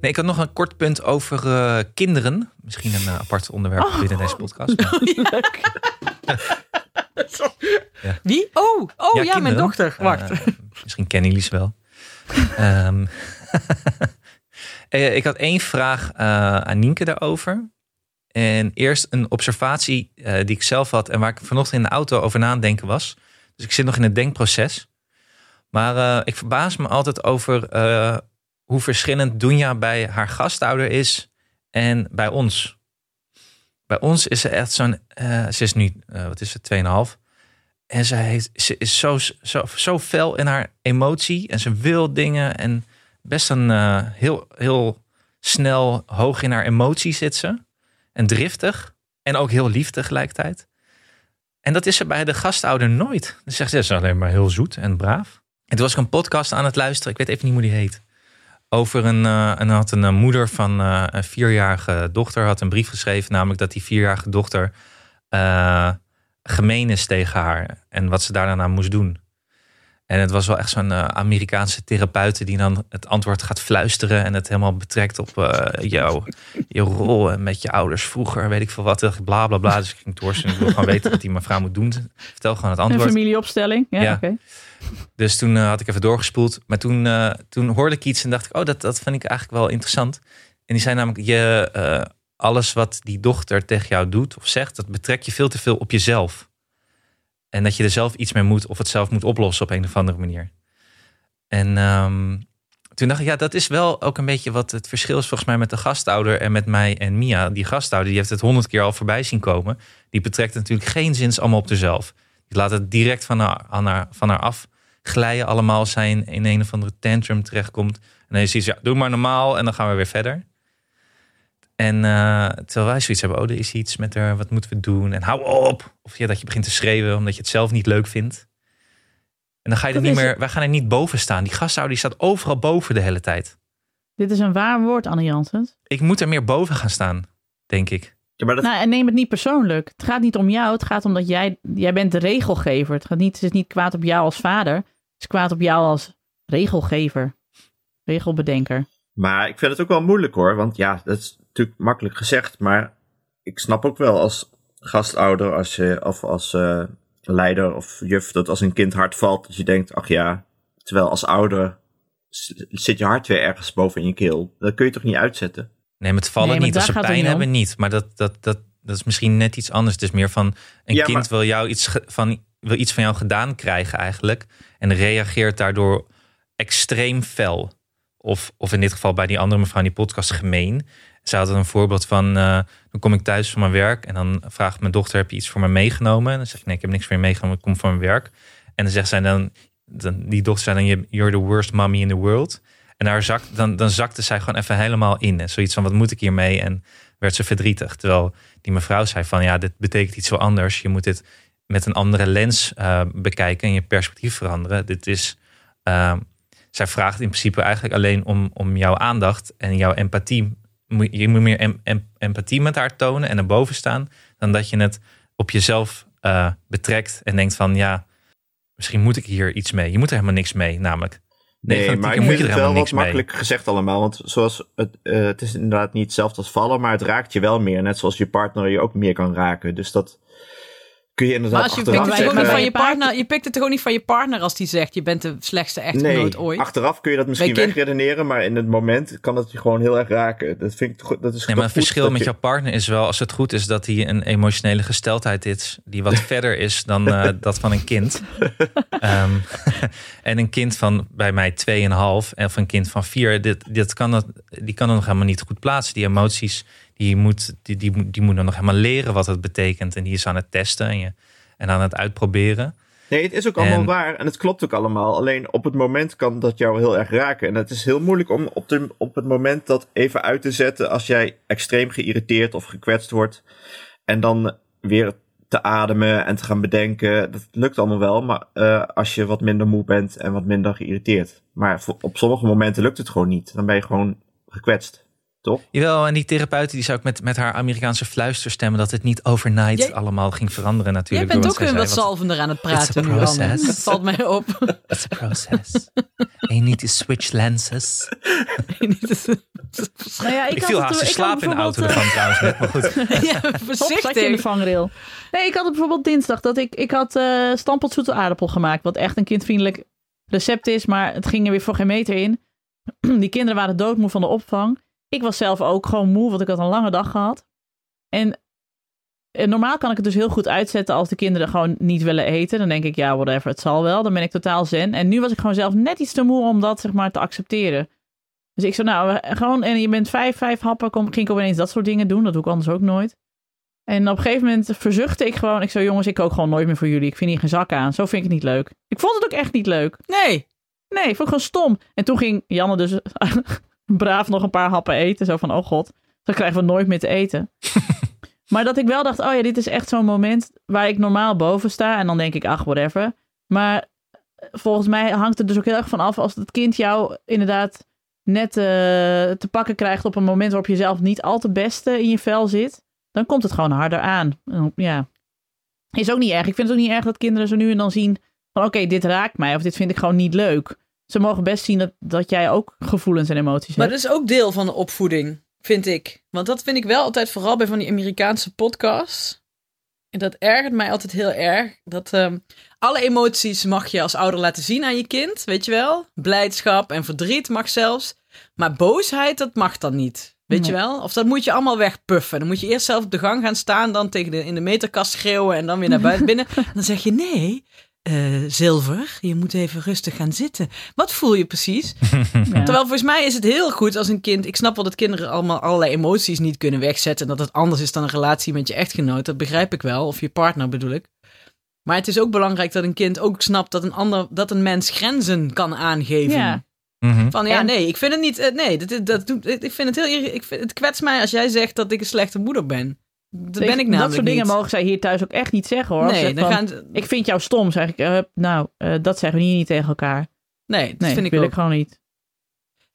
Speaker 3: Nee, ik had nog een kort punt over eh, kinderen. Misschien een eh, apart onderwerp binnen deze podcast. maar-
Speaker 2: Wie? Oh, oh ja, mijn
Speaker 3: kinderen.
Speaker 2: dochter.
Speaker 3: Eh,
Speaker 2: Wacht.
Speaker 3: misschien kennen jullie ze wel. Ehm, eh, ik had één vraag eh, aan Nienke daarover. En eerst een observatie eh, die ik zelf had en waar ik vanochtend in de auto over na aan het denken was. Dus ik zit nog in het denkproces. Maar eh, ik verbaas me altijd over eh, hoe verschillend Dunja bij haar gastouder is en bij ons. Bij ons is ze echt zo'n. eh, ze is nu, eh, wat is het, 2,5. En ze, heeft, ze is zo, zo, zo fel in haar emotie. En ze wil dingen. En best een eh, heel, heel snel hoog in haar emotie zit ze. En driftig. En ook heel lief tegelijkertijd. En dat is ze bij de gastouder nooit. Dan zegt ze, ze is alleen maar heel zoet en braaf. En toen was ik een podcast aan het luisteren. Ik weet even niet hoe die heet. Over een, eh, en dan had een eh, moeder van eh, een vierjarige dochter had een brief geschreven. Namelijk dat die vierjarige dochter eh, gemeen is tegen haar. En wat ze daarna aan moest doen. En het was wel echt zo'n eh, Amerikaanse therapeute die dan het antwoord gaat fluisteren. En het helemaal betrekt op eh jou, je rol en met je ouders vroeger. Weet ik veel wat. Bla bla bla. Dus ik ging torsen. Ik wil gewoon weten wat die mevrouw moet doen. Vertel gewoon het
Speaker 1: Een
Speaker 3: antwoord.
Speaker 1: familieopstelling. Ja,
Speaker 3: Ja.
Speaker 1: oké.
Speaker 3: Dus toen eh, had ik even doorgespoeld. Maar toen, eh, toen hoorde ik iets en dacht ik, oh, dat, dat vind ik eigenlijk wel interessant. En die zei namelijk, je, eh, alles wat die dochter tegen jou doet of zegt, dat betrek je veel te veel op jezelf. En dat je er zelf iets mee moet of het zelf moet oplossen op een of andere manier. En ehm, toen dacht ik, ja, dat is wel ook een beetje wat het verschil is volgens mij met de gastouder en met mij en Mia. Die gastouder, die heeft het honderd keer al voorbij zien komen. Die betrekt natuurlijk geen zins allemaal op zichzelf. Die laat het direct van haar, aan haar, van haar af glijden allemaal zijn in een of andere tantrum terechtkomt. En dan is hij zo, ja, doe maar normaal en dan gaan we weer verder. En eh, terwijl wij zoiets hebben, oh, er is iets met haar, wat moeten we doen? En hou op! Of ja, dat je begint te schreeuwen omdat je het zelf niet leuk vindt. En dan ga je er
Speaker 1: Dat
Speaker 3: niet
Speaker 1: is-
Speaker 3: meer, wij gaan er niet boven staan. Die gasthouder die staat overal boven de hele tijd.
Speaker 1: Dit is een waar woord, Anne Janssens.
Speaker 3: Ik moet er meer boven gaan staan, denk ik.
Speaker 4: Ja, maar dat,
Speaker 1: Nou, en neem het niet persoonlijk. Het gaat niet om jou. Het gaat om dat jij, jij bent de regelgever. Het, gaat niet, het is niet kwaad op jou als vader. Het is kwaad op jou als regelgever. Regelbedenker.
Speaker 4: maar ik vind het ook wel moeilijk hoor. Want ja, dat is natuurlijk makkelijk gezegd. Maar ik snap ook wel als gastouder als je, of als eh, leider of juf dat als een kind hard valt. Dat je denkt, ach ja. Terwijl als ouder s- zit je hart weer ergens boven in je keel. Dat kun je toch niet uitzetten?
Speaker 3: Nee, met vallen
Speaker 1: Nee, maar
Speaker 3: niet. Als ze
Speaker 1: daar gaat het
Speaker 3: pijn
Speaker 1: niet om.
Speaker 3: hebben, niet. Maar dat, dat, dat, dat is misschien net iets anders. Het is meer van een
Speaker 4: Ja,
Speaker 3: kind
Speaker 4: maar-
Speaker 3: wil, jou iets ge- van, wil iets van jou gedaan krijgen eigenlijk. En reageert daardoor extreem fel. Of, of in dit geval bij die andere mevrouw in die podcast gemeen. Ze had een voorbeeld van, eh, dan kom ik thuis van mijn werk. En dan vraagt mijn dochter, heb je iets voor me meegenomen? En dan zeg ik, nee, ik heb niks voor je meegenomen, ik kom van mijn werk. En dan zegt zij dan, dan die dochter zei dan, "You- you're the worst mommy in the world. En daar zak, dan, dan zakte zij gewoon even helemaal in. En zoiets van, wat moet ik hiermee? En werd ze verdrietig. Terwijl die mevrouw zei van, ja, dit betekent iets heel anders. Je moet dit met een andere lens eh, bekijken en je perspectief veranderen. Dit is, eh, zij vraagt in principe eigenlijk alleen om, om jouw aandacht en jouw empathie. Moet- Je moet meer em- em- empathie met haar tonen en erboven staan. Dan dat je het op jezelf eh, betrekt en denkt van, ja, misschien moet ik hier iets mee. Je moet er helemaal niks mee, namelijk. Nee,
Speaker 4: Nee,
Speaker 3: van
Speaker 4: maar ik
Speaker 3: tikken moet
Speaker 4: vind
Speaker 3: je er
Speaker 4: het wel
Speaker 3: helemaal niks
Speaker 4: wat
Speaker 3: mee.
Speaker 4: makkelijk gezegd allemaal. Want zoals het, eh, het is inderdaad niet hetzelfde als vallen, maar het raakt je wel meer. Net zoals je partner je ook meer kan raken. Dus dat kun je inderdaad
Speaker 2: Maar als je pikt
Speaker 4: achteraf
Speaker 2: het toch ook
Speaker 1: zeggen
Speaker 2: niet
Speaker 1: wij-
Speaker 2: van je partner, je pikt het toch ook niet van je partner als die zegt je bent de slechtste echtgenoot
Speaker 4: Nee,
Speaker 2: ooit.
Speaker 4: achteraf kun je dat misschien
Speaker 2: Bij kind-
Speaker 4: wegredeneren, maar in het moment kan het je gewoon heel erg raken. Dat vind ik goed. Dat is
Speaker 3: Nee, maar
Speaker 4: toch
Speaker 3: het
Speaker 4: goed
Speaker 3: verschil
Speaker 4: dat
Speaker 3: met
Speaker 4: je-
Speaker 3: jouw partner is wel, als het goed is, dat hij een emotionele gesteldheid is. die wat verder is dan eh, dat van een kind. Ehm, en een kind van bij mij 2,5 en van een kind van 4, dit, dit kan dat, die kan dat nog helemaal niet goed plaatsen. Die emoties, die moet, die, die, moet- die moet dan nog helemaal leren wat het betekent. En die is aan het testen en, je, en aan het uitproberen.
Speaker 4: Nee, het is ook allemaal
Speaker 3: En-
Speaker 4: waar en het klopt ook allemaal. Alleen op het moment kan dat jou heel erg raken. En het is heel moeilijk om op, de, op het moment dat even uit te zetten als jij extreem geïrriteerd of gekwetst wordt. En dan weer te ademen en te gaan bedenken. Dat lukt allemaal wel, maar eh, als je wat minder moe bent en wat minder geïrriteerd. Maar voor- op sommige momenten lukt het gewoon niet. Dan ben je gewoon gekwetst, toch?
Speaker 3: Jawel, en die therapeut die zou ook met, met haar Amerikaanse fluisterstemmen dat het niet overnight
Speaker 2: Jij-
Speaker 3: allemaal ging veranderen
Speaker 2: Jij
Speaker 3: natuurlijk.
Speaker 2: bent
Speaker 3: door
Speaker 2: ook een
Speaker 3: zij
Speaker 2: wat
Speaker 3: zei, want-
Speaker 2: zalvender aan het
Speaker 3: It's a
Speaker 2: praten nu, Anne.
Speaker 3: process.
Speaker 2: Dat valt mij op.
Speaker 3: It's a process. And you need to switch lenses.
Speaker 1: Nou ja, ik,
Speaker 3: Ik
Speaker 1: had
Speaker 3: viel
Speaker 1: het-
Speaker 3: haast te
Speaker 1: ik had
Speaker 3: slapen in de
Speaker 1: bijvoorbeeld,
Speaker 3: auto
Speaker 1: eh,
Speaker 3: ervan trouwens. net, Maar goed.
Speaker 2: ja,
Speaker 1: Hop, zat je in de
Speaker 2: voorzichtig.
Speaker 1: vangrail. Nee, ik had het bijvoorbeeld dinsdag. Dat ik, ik had eh stampot zoete aardappel gemaakt. Wat echt een kindvriendelijk recept is. Maar het ging er weer voor geen meter in. Die kinderen waren doodmoe van de opvang. Ik was zelf ook gewoon moe, want ik had een lange dag gehad. En, en normaal kan ik het dus heel goed uitzetten als de kinderen gewoon niet willen eten. Dan denk ik, ja, whatever, het zal wel. Dan ben ik totaal zen. En nu was ik gewoon zelf net iets te moe om dat zeg maar te accepteren. Dus ik zo, nou, eh, gewoon, en je bent vijf, vijf happen, kom, ging ik opeens dat soort dingen doen. Dat doe ik anders ook nooit. En op een gegeven moment verzuchtte ik gewoon. Ik zei, jongens, ik kook gewoon nooit meer voor jullie. Ik vind hier geen zak aan. Zo vind ik het niet leuk. Ik vond het ook echt niet leuk.
Speaker 2: Nee,
Speaker 1: Nee, ik vond het gewoon stom. En toen ging Janne dus braaf nog een paar happen eten. Zo van, oh god, dan krijgen we nooit meer te eten. maar dat ik wel dacht, oh ja, dit is echt zo'n moment waar ik normaal boven sta. En dan denk ik, ach, whatever. Maar eh, volgens mij hangt het dus ook heel erg van af als het kind jou inderdaad net eh, te pakken krijgt op een moment waarop je zelf niet al te beste in je vel zit. Dan komt het gewoon harder aan. En Ja. Is ook niet erg. Ik vind het ook niet erg dat kinderen zo nu en dan zien van oké, dit raakt mij of dit vind ik gewoon niet leuk. Ze mogen best zien dat, dat jij ook gevoelens en emoties
Speaker 2: maar
Speaker 1: hebt.
Speaker 2: dat is ook deel van de opvoeding, vind ik. Want dat vind ik wel altijd vooral bij van die Amerikaanse podcasts. En dat ergert mij altijd heel erg. Dat ehm, alle emoties mag je als ouder laten zien aan je kind, weet je wel. Blijdschap en verdriet mag zelfs. Maar boosheid, dat mag dan niet. Weet je
Speaker 1: Nee.
Speaker 2: wel? Of dat moet je allemaal wegpuffen. Dan moet je eerst zelf op de gang gaan staan, dan tegen de, in de meterkast schreeuwen en dan weer naar buiten binnen. Dan zeg je nee, eh, zilver, je moet even rustig gaan zitten. Wat voel je precies?
Speaker 1: Ja.
Speaker 2: Terwijl volgens mij is het heel goed als een kind. Ik snap wel dat kinderen allemaal allerlei emoties niet kunnen wegzetten. En dat het anders is dan een relatie met je echtgenoot. Dat begrijp ik wel. Of je partner bedoel ik. Maar het is ook belangrijk dat een kind ook snapt dat een, ander, dat een mens grenzen kan aangeven.
Speaker 1: Ja.
Speaker 3: Mhm.
Speaker 2: Van ja,
Speaker 1: En-
Speaker 2: nee, ik vind het niet. eh, nee, dat, dat, doet- ik vind het heel. irri- Ik vind, het kwetst mij als jij zegt dat ik een slechte moeder ben. Dat ben ik namelijk.
Speaker 1: Dat soort dingen
Speaker 2: niet.
Speaker 1: mogen zij hier thuis ook echt niet zeggen hoor. Als ze
Speaker 2: Nee,
Speaker 1: zegt
Speaker 2: dan
Speaker 1: van,
Speaker 2: gaan, ze-
Speaker 1: Ik vind jou stom, zeg ik. eh, nou, eh, dat zeggen we hier niet tegen elkaar.
Speaker 2: nee, dat
Speaker 1: Nee,
Speaker 2: vind ik
Speaker 1: wil
Speaker 2: ook.
Speaker 1: ik gewoon niet.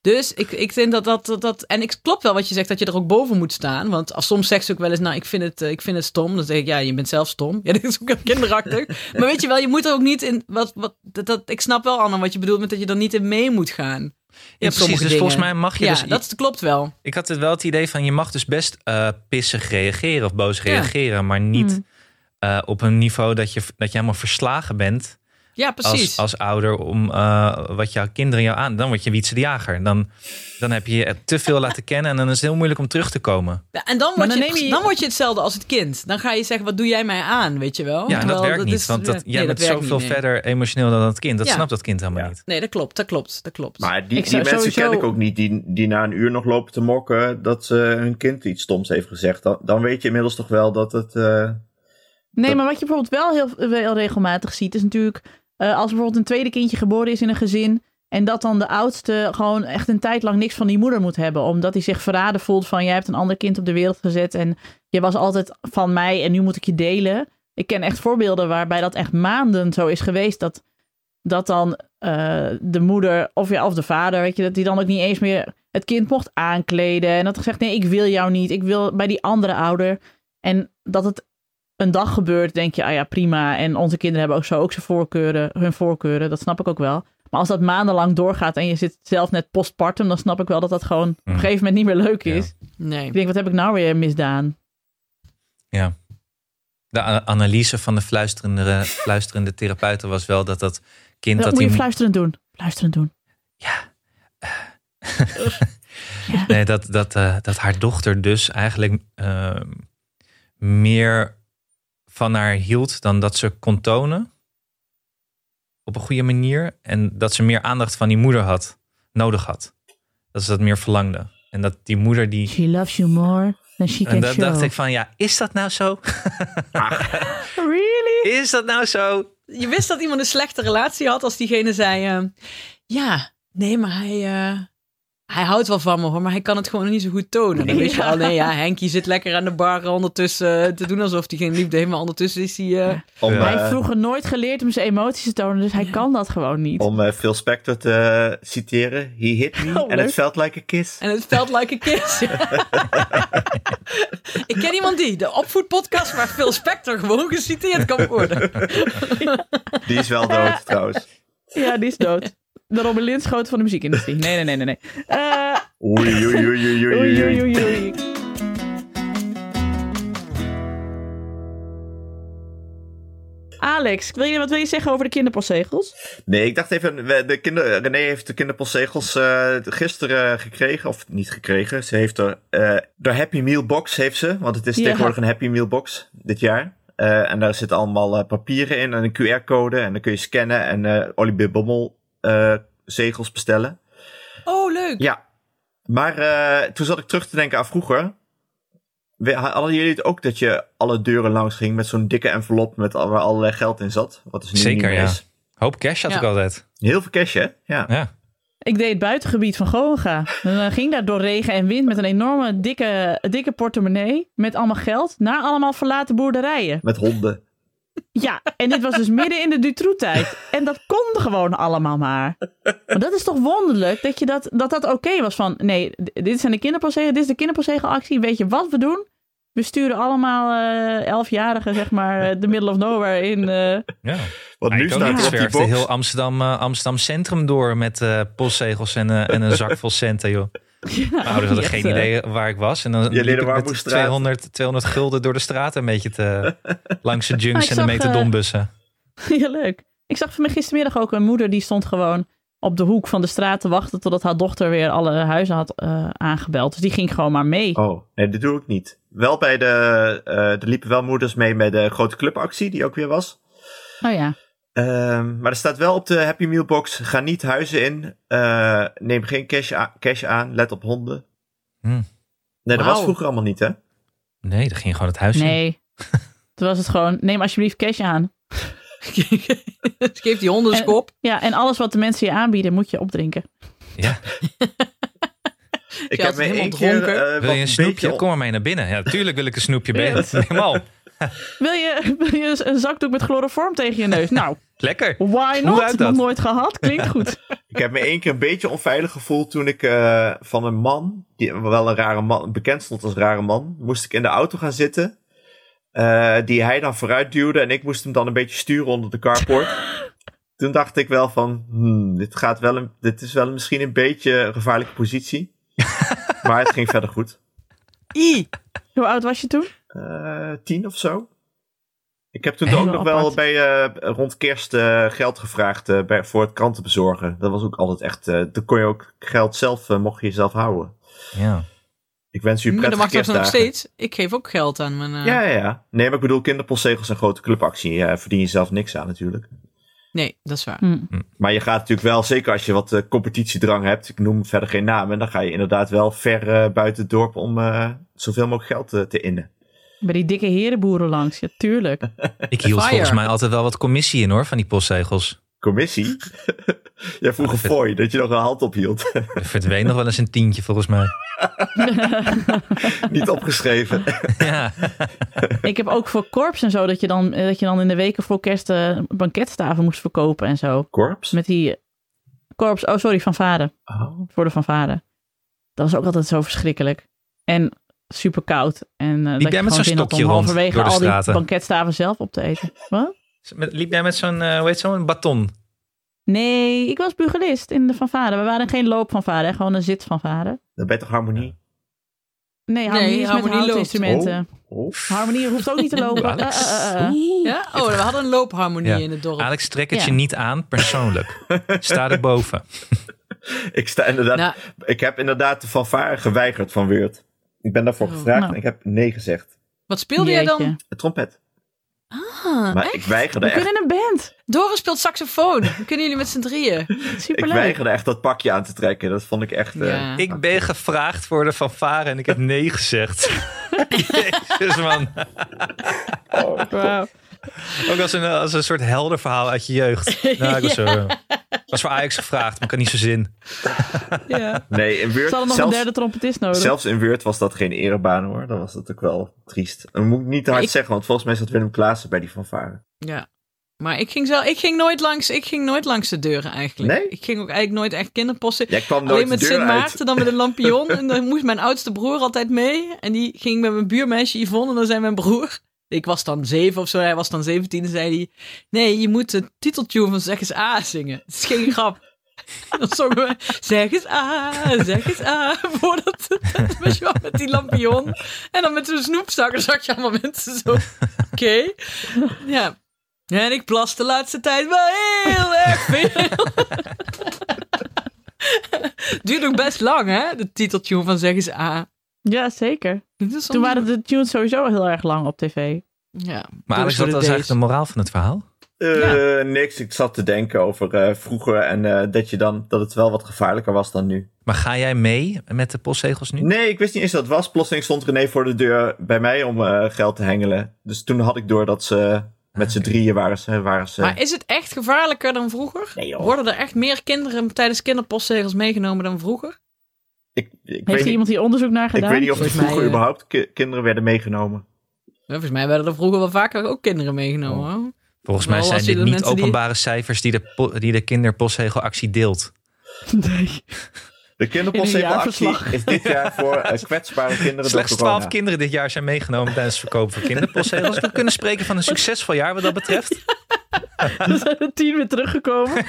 Speaker 2: Dus ik, ik denk dat dat, dat dat. En ik klopt wel wat je zegt, dat je er ook boven moet staan. Want als, soms zegt ze ook wel eens: Nou, ik vind, het, eh, ik vind het stom. Dan zeg ik: Ja, je bent zelf stom. Ja, dat is ook heel kinderachtig. maar weet je wel, je moet er ook niet in. Wat, wat, dat, dat- ik snap wel, Anne, wat je bedoelt met dat je er niet in mee moet gaan. In
Speaker 3: Ja, precies. Dus
Speaker 2: sommige
Speaker 3: volgens mij
Speaker 2: dingen.
Speaker 3: mag je
Speaker 2: Ja,
Speaker 3: dus...
Speaker 2: dat klopt wel.
Speaker 3: Ik had het wel het idee van je mag dus best eh, pissig reageren of boos
Speaker 2: Ja. Mm.
Speaker 3: reageren. Maar niet
Speaker 1: Hmm.
Speaker 3: eh, op een niveau dat je, dat je helemaal verslagen bent.
Speaker 2: Ja, precies.
Speaker 3: als, als ouder om eh, wat jouw kinderen jou aan. Dan word je Wietse de Jager. Dan, dan heb je je te veel laten kennen en dan is het heel moeilijk om terug te komen.
Speaker 2: Ja, en dan
Speaker 1: Maar
Speaker 2: word,
Speaker 1: dan
Speaker 2: je,
Speaker 1: neem je-
Speaker 2: dan word je hetzelfde als het kind. Dan ga je zeggen, wat doe jij mij aan, weet je Oh, wel?
Speaker 3: Ja, en dat
Speaker 2: Terwijl
Speaker 3: werkt niet.
Speaker 2: is-
Speaker 3: want dat,
Speaker 2: ja,
Speaker 3: jij
Speaker 2: nee,
Speaker 3: bent
Speaker 2: dat werkt
Speaker 3: zoveel
Speaker 2: niet, nee.
Speaker 3: verder emotioneel dan dat kind. Dat
Speaker 2: Ja.
Speaker 3: snapt dat kind helemaal
Speaker 4: Ja.
Speaker 3: niet.
Speaker 2: Nee, dat klopt, dat klopt, dat klopt.
Speaker 4: Maar die,
Speaker 1: Ik
Speaker 4: die
Speaker 1: zou
Speaker 4: mensen
Speaker 1: sowieso-
Speaker 4: ken ik ook niet die, die na een uur nog lopen te mokken dat eh, hun kind iets stoms heeft gezegd. Dan, dan weet je inmiddels toch wel dat het. eh,
Speaker 1: Nee,
Speaker 4: Dat-
Speaker 1: maar wat je bijvoorbeeld wel heel, wel regelmatig ziet, is natuurlijk eh, als bijvoorbeeld een tweede kindje geboren is in een gezin. En dat dan de oudste gewoon echt een tijd lang niks van die moeder moet hebben. Omdat hij zich verraden voelt van jij hebt een ander kind op de wereld gezet. En je was altijd van mij en nu moet ik je delen. Ik ken echt voorbeelden waarbij dat echt maanden zo is geweest. Dat, dat dan eh, de moeder of, ja, of de vader, weet je, dat die dan ook niet eens meer het kind mocht aankleden. En dat gezegd, nee, ik wil jou niet. Ik wil bij die andere ouder. En dat het een dag gebeurt, denk je, ah ja, prima. En onze kinderen hebben ook zo ook zijn voorkeuren, hun voorkeuren. Dat snap ik ook wel. Maar als dat maandenlang doorgaat en je zit zelf net postpartum, dan snap ik wel dat dat gewoon op een gegeven moment niet meer leuk
Speaker 3: Mm. Ja.
Speaker 1: is.
Speaker 2: Nee.
Speaker 1: Ik denk, wat heb ik nou weer misdaan?
Speaker 3: De a- analyse van de fluisterende, fluisterende therapeuten was wel dat dat kind...
Speaker 1: Dat
Speaker 3: dat
Speaker 1: moet
Speaker 3: hij
Speaker 1: je fluisterend doen. Fluisterend doen.
Speaker 3: Nee, dat, dat, eh, dat haar dochter dus eigenlijk eh, meer van haar hield dan dat ze kon tonen. Op een goede manier. En dat ze meer aandacht van die moeder had, nodig had. Dat ze dat meer verlangde. En dat die moeder die.
Speaker 1: She loves you more than she
Speaker 3: En
Speaker 1: can
Speaker 3: dat
Speaker 1: show.
Speaker 3: dacht ik van, ja, is dat nou zo?
Speaker 1: Really?
Speaker 3: Is dat nou zo?
Speaker 2: Je wist dat iemand een slechte relatie had als diegene zei... eh, ja, nee, maar hij, eh, hij houdt wel van me hoor, maar hij kan het gewoon niet zo goed tonen. Dan weet je
Speaker 1: Ja.
Speaker 2: al, nee, ja, Henkie zit lekker aan de bar ondertussen eh, te doen alsof hij geen liefde heeft. Maar ondertussen is hij... eh,
Speaker 4: om,
Speaker 3: Ja.
Speaker 1: Hij heeft
Speaker 4: eh,
Speaker 1: vroeger nooit geleerd om zijn emoties te tonen, dus hij kan dat gewoon niet.
Speaker 4: om eh, Phil Spector te eh, citeren. He hit me
Speaker 1: Oh,
Speaker 4: and
Speaker 1: leuk.
Speaker 4: it felt like a kiss.
Speaker 2: En het felt like a kiss. ik ken iemand die, de opvoedpodcast waar Phil Spector gewoon geciteerd kan worden.
Speaker 4: Die is wel dood trouwens.
Speaker 1: Ja, die is dood. De Robin Linschoten van de muziekindustrie. Nee, nee, nee, nee. nee. Eh,
Speaker 4: Oei, oei, oei, oei, oei,
Speaker 1: oei,
Speaker 4: oei.
Speaker 1: oei, oei, oei. Alex, wil je, wat wil je zeggen over de kinderpostzegels?
Speaker 4: Nee, ik dacht even, we- de kinder, René heeft de kinderpostzegels eh, gisteren gekregen, of niet gekregen. Ze heeft er, eh, de Happy Meal Box heeft ze, want het is
Speaker 1: Ja.
Speaker 4: tegenwoordig een Happy Meal Box dit jaar. Eh, en daar zitten allemaal eh, papieren in en een QR-code en dan kun je scannen en eh Olivier Bommel eh, zegels bestellen.
Speaker 2: Oh, leuk.
Speaker 4: Ja, maar eh, toen zat ik terug te denken aan vroeger. We, hadden jullie het ook dat je alle deuren langs ging met zo'n dikke envelop met al, waar allerlei geld in zat? Wat is nu niet
Speaker 3: Zeker,
Speaker 4: meer
Speaker 3: ja.
Speaker 4: is.
Speaker 3: Hoop cash had
Speaker 2: Ja.
Speaker 3: ik altijd.
Speaker 4: Heel veel cash, hè? Ja.
Speaker 3: Ja.
Speaker 1: Ik deed het buitengebied van Goa. En dan eh, ging daar door regen en wind met een enorme dikke, dikke portemonnee met allemaal geld naar allemaal verlaten boerderijen.
Speaker 4: Met honden.
Speaker 1: Ja, en dit was dus midden in de Dutroux-tijd. En dat kon gewoon allemaal maar. Maar dat is toch wonderlijk dat je dat, dat, dat oké was van... Nee, d- dit zijn de kinderpostzegel, dit is de kinderpostzegelactie. Weet je wat we doen? We sturen allemaal eh, elfjarigen, zeg maar, eh, de middle of nowhere in. eh,
Speaker 3: ja.
Speaker 4: Want
Speaker 3: Ja,
Speaker 4: nu
Speaker 3: ik ook.
Speaker 4: staat
Speaker 3: Ik
Speaker 4: er op die
Speaker 3: zwerfde
Speaker 4: box.
Speaker 3: heel Amsterdam, eh, Amsterdam Centrum door met eh, postzegels en, eh, en een zak vol centen, joh. Mijn ouders hadden
Speaker 1: echt,
Speaker 3: geen
Speaker 1: eh,
Speaker 3: idee waar ik was. En dan
Speaker 4: Jullie
Speaker 3: liep
Speaker 4: de
Speaker 3: ik met
Speaker 4: Warmoestraat.
Speaker 3: 200, 200 gulden door de straat een beetje te, langs de
Speaker 1: Ah,
Speaker 3: junks
Speaker 1: ik
Speaker 3: en de
Speaker 1: zag,
Speaker 3: metadonbussen.
Speaker 1: Ja, leuk. Ik zag van mij gistermiddag ook een moeder die stond gewoon op de hoek van de straat te wachten totdat haar dochter weer alle huizen had eh, aangebeld. Dus die ging gewoon maar mee.
Speaker 4: Oh, nee, dat doe ik niet. Wel bij de, eh, er liepen wel moeders mee bij de grote clubactie die ook weer was.
Speaker 1: Oh ja.
Speaker 4: Ehm, maar er staat wel op de Happy Meal box, ga niet huizen in, eh, neem geen cash, a- cash aan, let op honden.
Speaker 3: Hmm.
Speaker 4: Nee, dat
Speaker 2: Wauw.
Speaker 4: was vroeger allemaal niet, hè?
Speaker 3: Nee, dat ging gewoon het huis in.
Speaker 1: Nee. Toen was het gewoon, neem alsjeblieft cash aan.
Speaker 2: Geef die honden een
Speaker 1: En-
Speaker 2: kop.
Speaker 1: Ja, en alles wat de mensen je aanbieden, moet je opdrinken.
Speaker 3: Ja.
Speaker 4: Ik
Speaker 2: had het
Speaker 4: me
Speaker 2: helemaal
Speaker 4: één keer,
Speaker 2: dronken.
Speaker 3: Wil
Speaker 4: eh, wat
Speaker 3: je een
Speaker 4: beetje
Speaker 3: snoepje?
Speaker 4: on-
Speaker 3: Kom maar mee naar binnen. Ja, tuurlijk wil ik een snoepje. Ben je
Speaker 1: Ja.
Speaker 3: het helemaal?
Speaker 1: Wil je, wil je een zakdoek met chloroform tegen je neus? Nou,
Speaker 3: Lekker.
Speaker 1: why
Speaker 3: Hoe
Speaker 1: not?
Speaker 3: ruikt
Speaker 1: Nog
Speaker 3: dat?
Speaker 1: nooit gehad. Klinkt goed.
Speaker 4: Ik heb me één keer een beetje onveilig gevoeld toen ik eh, van een man, die wel een rare man, bekend stond als rare man, moest ik in de auto gaan zitten. eh, die hij dan vooruit duwde en ik moest hem dan een beetje sturen onder de carport. toen dacht ik wel van, hmm, dit, gaat wel een, dit is wel misschien een beetje een gevaarlijke positie. maar het ging verder goed.
Speaker 2: I.
Speaker 1: Hoe oud was je toen?
Speaker 4: Eh, tien of zo. Ik heb toen
Speaker 3: Heel
Speaker 4: ook nog wel
Speaker 3: apart.
Speaker 4: bij, eh, rond kerst eh, geld gevraagd eh, bij, voor het krantenbezorgen. Dat was ook altijd echt, eh dan kon je ook geld zelf, eh, mocht je jezelf houden.
Speaker 3: Ja.
Speaker 4: Ik wens u
Speaker 2: Maar
Speaker 4: prettige
Speaker 2: Mm, dat mag dat
Speaker 4: kerstdagen.
Speaker 2: dan nog steeds. Ik geef ook geld aan mijn... eh,
Speaker 4: Ja, ja, ja. Nee, maar ik bedoel, kinderpostzegels en grote clubactie, ja, verdien je zelf niks aan natuurlijk.
Speaker 2: Nee, dat is waar.
Speaker 1: Hm.
Speaker 4: Maar je gaat natuurlijk wel, zeker als je wat eh, competitiedrang hebt, ik noem verder geen namen, dan ga je inderdaad wel ver eh, buiten het dorp om eh, zoveel mogelijk geld eh, te innen.
Speaker 1: Bij die dikke herenboeren langs, ja, tuurlijk.
Speaker 3: Ik hield
Speaker 2: Fire.
Speaker 3: volgens mij altijd wel wat commissie in hoor, van die postzegels.
Speaker 4: Commissie? Jij vroeg een fooi, dat je nog een hand ophield.
Speaker 3: Er verdween nog wel eens een tientje volgens mij.
Speaker 4: Niet opgeschreven.
Speaker 3: Ja.
Speaker 1: Ik heb ook voor korps en zo dat je dan, eh, dat je dan in de weken voor kerst eh, banketstaven moest verkopen en zo.
Speaker 4: Korps?
Speaker 1: Met die korps, oh sorry, van vader.
Speaker 4: Oh.
Speaker 1: Voor de van vader. Dat was ook altijd zo verschrikkelijk. En super koud. En eh, dat
Speaker 3: jij
Speaker 1: je
Speaker 3: met
Speaker 1: gewoon
Speaker 3: zo'n
Speaker 1: zin had om
Speaker 3: stokje rond
Speaker 1: halverwege
Speaker 3: door de
Speaker 1: al die
Speaker 3: straten?
Speaker 1: banketstaven zelf op te eten. Wat?
Speaker 3: Met- Liep jij met zo'n, eh, hoe heet zo'n, baton?
Speaker 1: Nee, ik was bugelist in de van vader. We waren geen loop van vader, gewoon een zit van vader.
Speaker 4: Dan ben je toch harmonie?
Speaker 1: Nee, harmonie,
Speaker 2: Nee,
Speaker 1: is
Speaker 2: harmonie
Speaker 1: met
Speaker 2: loopt.
Speaker 1: houtinstrumenten.
Speaker 4: Oh.
Speaker 1: Harmonie hoeft ook niet te lopen.
Speaker 3: Alex.
Speaker 1: Eh, eh, eh, eh.
Speaker 2: Ja? Oh, we hadden een loopharmonie
Speaker 3: Ja.
Speaker 2: in het
Speaker 1: Ah,
Speaker 2: dorp.
Speaker 3: Alex, trek het
Speaker 1: Ja.
Speaker 3: je niet aan, persoonlijk. Sta erboven.
Speaker 4: Ik, sta inderdaad,
Speaker 2: Nou.
Speaker 4: ik heb inderdaad de fanfare geweigerd van Weert. Ik ben daarvoor
Speaker 2: Oh,
Speaker 4: gevraagd
Speaker 1: nou.
Speaker 4: en ik heb nee gezegd.
Speaker 2: Wat speelde jij
Speaker 1: Jeetje.
Speaker 2: dan?
Speaker 4: Het trompet.
Speaker 2: Ah,
Speaker 4: Maar
Speaker 2: echt?
Speaker 4: ik weigerde
Speaker 1: We
Speaker 4: echt.
Speaker 1: kunnen in een band.
Speaker 2: Doris speelt saxofoon. Dan kunnen jullie met z'n drieën.
Speaker 4: Ik
Speaker 1: Superleuk.
Speaker 4: weigerde echt dat pakje aan te trekken. Dat vond ik echt. eh,
Speaker 2: Ja.
Speaker 3: Ik ben gevraagd voor de fanfare en ik heb nee gezegd. Jezus man.
Speaker 1: Wauw.
Speaker 3: Ook als een, als een soort helder verhaal uit je jeugd. Nou, ik was, zo, was voor Ajax gevraagd, maar ik had niet zo zin.
Speaker 2: Ja.
Speaker 4: Nee, in Weert.
Speaker 1: Ze hadden nog een
Speaker 4: zelfs,
Speaker 1: derde trompetist nodig.
Speaker 4: zelfs in Weert was dat geen erebaan hoor. Dan was dat ook wel triest. En moet ik niet te hard
Speaker 2: Ik-
Speaker 4: zeggen, want volgens mij zat Willem Klaassen bij die fanfare.
Speaker 2: ja. Maar ik ging, zelf, ik, ging nooit langs, ik ging nooit langs de deuren eigenlijk.
Speaker 4: Nee?
Speaker 2: Ik ging ook eigenlijk nooit echt kinderposten.
Speaker 4: Jij kwam nooit
Speaker 2: Alleen met
Speaker 4: de deur
Speaker 2: Sint
Speaker 4: uit.
Speaker 2: Maarten, dan met een lampion. En dan moest mijn oudste broer altijd mee. En die ging met mijn buurmeisje Yvonne. En dan zei mijn broer... Ik was dan zeven of zo, hij was dan zeventien. En zei hij... Nee, je moet de titeltune van Zeg eens A zingen. Dat is geen grap. En dan zongen we Zeg eens A, zeg eens A. Voordat het weet je wel, met die lampion. En dan met zo'n snoepzak. Dan zag je allemaal mensen zo... Oké. Ja. En ik plas de laatste tijd wel heel erg veel. Duurde ook best lang, hè? De titeltune van Zeg eens A.
Speaker 1: Ja, zeker.
Speaker 2: Dit is
Speaker 1: Toen
Speaker 2: allemaal-
Speaker 1: waren de tunes sowieso heel erg lang op tv.
Speaker 2: Ja.
Speaker 3: Maar
Speaker 2: Doe eens voor
Speaker 3: Alex, wat was
Speaker 2: de
Speaker 3: eigenlijk de
Speaker 2: days.
Speaker 3: moraal van het verhaal?
Speaker 4: Eh, Niks, ik zat te denken over eh, vroeger en eh, dat, je dan, dat het wel wat gevaarlijker was dan nu.
Speaker 3: Maar ga jij mee met de postzegels
Speaker 1: Hm.
Speaker 3: nu?
Speaker 4: Nee, ik wist niet eens dat het was. Plotseling stond René voor de deur bij mij om eh, geld te hengelen. Dus toen had ik door dat ze met
Speaker 1: Ah,
Speaker 4: z'n drieën waren. Ze, waren ze...
Speaker 2: Maar is het echt gevaarlijker dan vroeger?
Speaker 4: Nee, joh.
Speaker 2: Worden er echt meer kinderen tijdens kinderpostzegels meegenomen dan vroeger?
Speaker 4: ik, ik,
Speaker 1: Heeft
Speaker 4: weet
Speaker 1: er
Speaker 4: niet,
Speaker 1: iemand hier onderzoek naar
Speaker 4: ik
Speaker 1: gedaan?
Speaker 4: weet niet of er
Speaker 2: Volgens mij,
Speaker 4: vroeger
Speaker 2: eh,
Speaker 4: überhaupt ki- kinderen werden meegenomen.
Speaker 2: Ja, Volgens mij werden er vroeger wel vaker ook kinderen
Speaker 1: Oh.
Speaker 2: meegenomen. hoor.
Speaker 3: Volgens mij
Speaker 2: Wel,
Speaker 3: zijn
Speaker 2: als je
Speaker 3: dit
Speaker 2: de
Speaker 3: niet
Speaker 2: mensen die-
Speaker 3: openbare cijfers die de, po- die de kinderpostzegelactie deelt.
Speaker 1: Nee.
Speaker 4: De
Speaker 1: In
Speaker 4: kinderpostzegelactie
Speaker 1: een jaarverslag.
Speaker 4: is dit jaar voor eh, kwetsbare kinderen
Speaker 3: Slechts
Speaker 4: door corona.
Speaker 3: 12 kinderen dit jaar zijn meegenomen tijdens het verkopen van kinderpostzegels. We kunnen spreken van een succesvol jaar wat dat betreft.
Speaker 1: Er zijn er tien weer teruggekomen.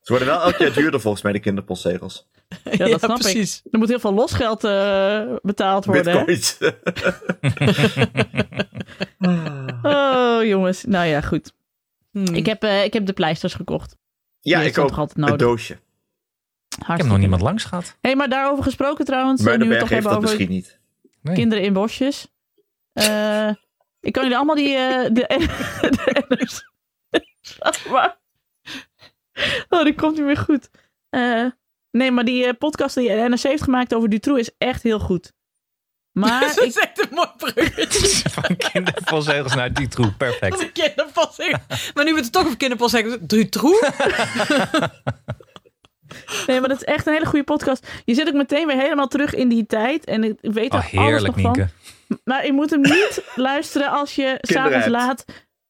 Speaker 4: Ze worden wel elk jaar duurder volgens mij, de kinderpostzegels.
Speaker 1: Ja, dat snap ik.
Speaker 2: precies.
Speaker 1: Er moet heel veel losgeld eh, betaald worden. hè?
Speaker 4: Bitcoins.
Speaker 1: Oh, jongens. Nou ja, goed.
Speaker 2: Hmm.
Speaker 1: Ik heb, eh, ik heb de pleisters gekocht.
Speaker 4: ja,
Speaker 1: Die
Speaker 4: ik
Speaker 1: is
Speaker 4: ook.
Speaker 1: toch altijd
Speaker 4: Een
Speaker 1: nodig.
Speaker 4: doosje.
Speaker 3: Ik heb nog niemand langs gehad.
Speaker 1: Hé, hey, maar daarover gesproken trouwens. eh, nu we het
Speaker 4: Muidenberg
Speaker 1: toch
Speaker 4: heeft
Speaker 1: hebben
Speaker 4: dat
Speaker 1: over
Speaker 4: misschien niet.
Speaker 3: Nee.
Speaker 1: kinderen in bosjes. Eh, ik kan jullie allemaal die... eh, de, de NRC Laat maar. Oh, dat komt niet meer goed. Eh, nee, maar die eh, podcast die de NRC heeft gemaakt over Dutroux is echt heel goed. Maar
Speaker 2: Dat
Speaker 1: ik,
Speaker 2: is echt een mooi bruggetje.
Speaker 3: Van kinderpostzegels naar die troep. Perfect.
Speaker 2: Als kinderpostzegels. Maar nu we het toch over kinderpostzegels... Dutroux?
Speaker 1: Nee, maar dat is echt een hele goede podcast. Je zit ook meteen weer helemaal terug in die tijd. En ik ik weet er
Speaker 3: Oh,
Speaker 1: alles
Speaker 3: heerlijk,
Speaker 1: nog van.
Speaker 3: Nienke.
Speaker 1: Maar je moet hem niet luisteren als je s'avonds
Speaker 4: hebt.
Speaker 1: laat...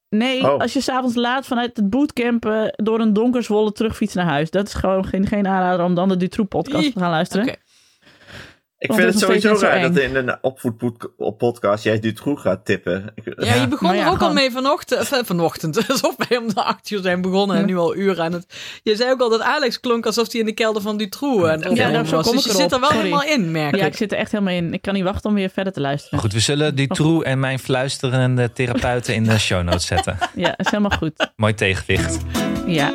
Speaker 1: Nee,
Speaker 4: Oh.
Speaker 1: als je s'avonds laat vanuit het bootcamp eh, door een donkerzwolle terugfiets naar huis. Dat is gewoon geen, geen aanrader om dan de Dutroux podcast
Speaker 2: Ie,
Speaker 1: te gaan luisteren.
Speaker 2: oké.
Speaker 4: Ik
Speaker 1: Want
Speaker 4: vind
Speaker 1: het
Speaker 4: het
Speaker 1: is nog
Speaker 4: sowieso
Speaker 1: steeds
Speaker 4: raar
Speaker 1: net zo
Speaker 4: dat in een opvoedpodcast jij nu goed gaat tippen. Ik-
Speaker 2: Ja, je begon
Speaker 1: Nou ja,
Speaker 2: er ook
Speaker 1: gewoon-
Speaker 2: al mee vanochtend, eh, vanochtend, alsof wij om de acht uur zijn begonnen en nu al uren aan het... Je zei ook al dat Alex klonk alsof hij in de kelder van Dutroux aan het opnemen
Speaker 1: nou, zo
Speaker 2: was.
Speaker 1: kom
Speaker 2: Dus
Speaker 1: ik
Speaker 2: je zit er
Speaker 1: erop.
Speaker 2: wel
Speaker 1: Sorry.
Speaker 2: helemaal in, merk
Speaker 1: Ja,
Speaker 2: ik.
Speaker 1: ik zit er echt helemaal in. Ik kan niet wachten om weer verder te luisteren.
Speaker 3: Goed, we zullen Dutroux en mijn fluisterende therapeuten in de show notes zetten.
Speaker 1: Ja, is helemaal goed.
Speaker 3: Mooi tegenwicht.
Speaker 1: Ja.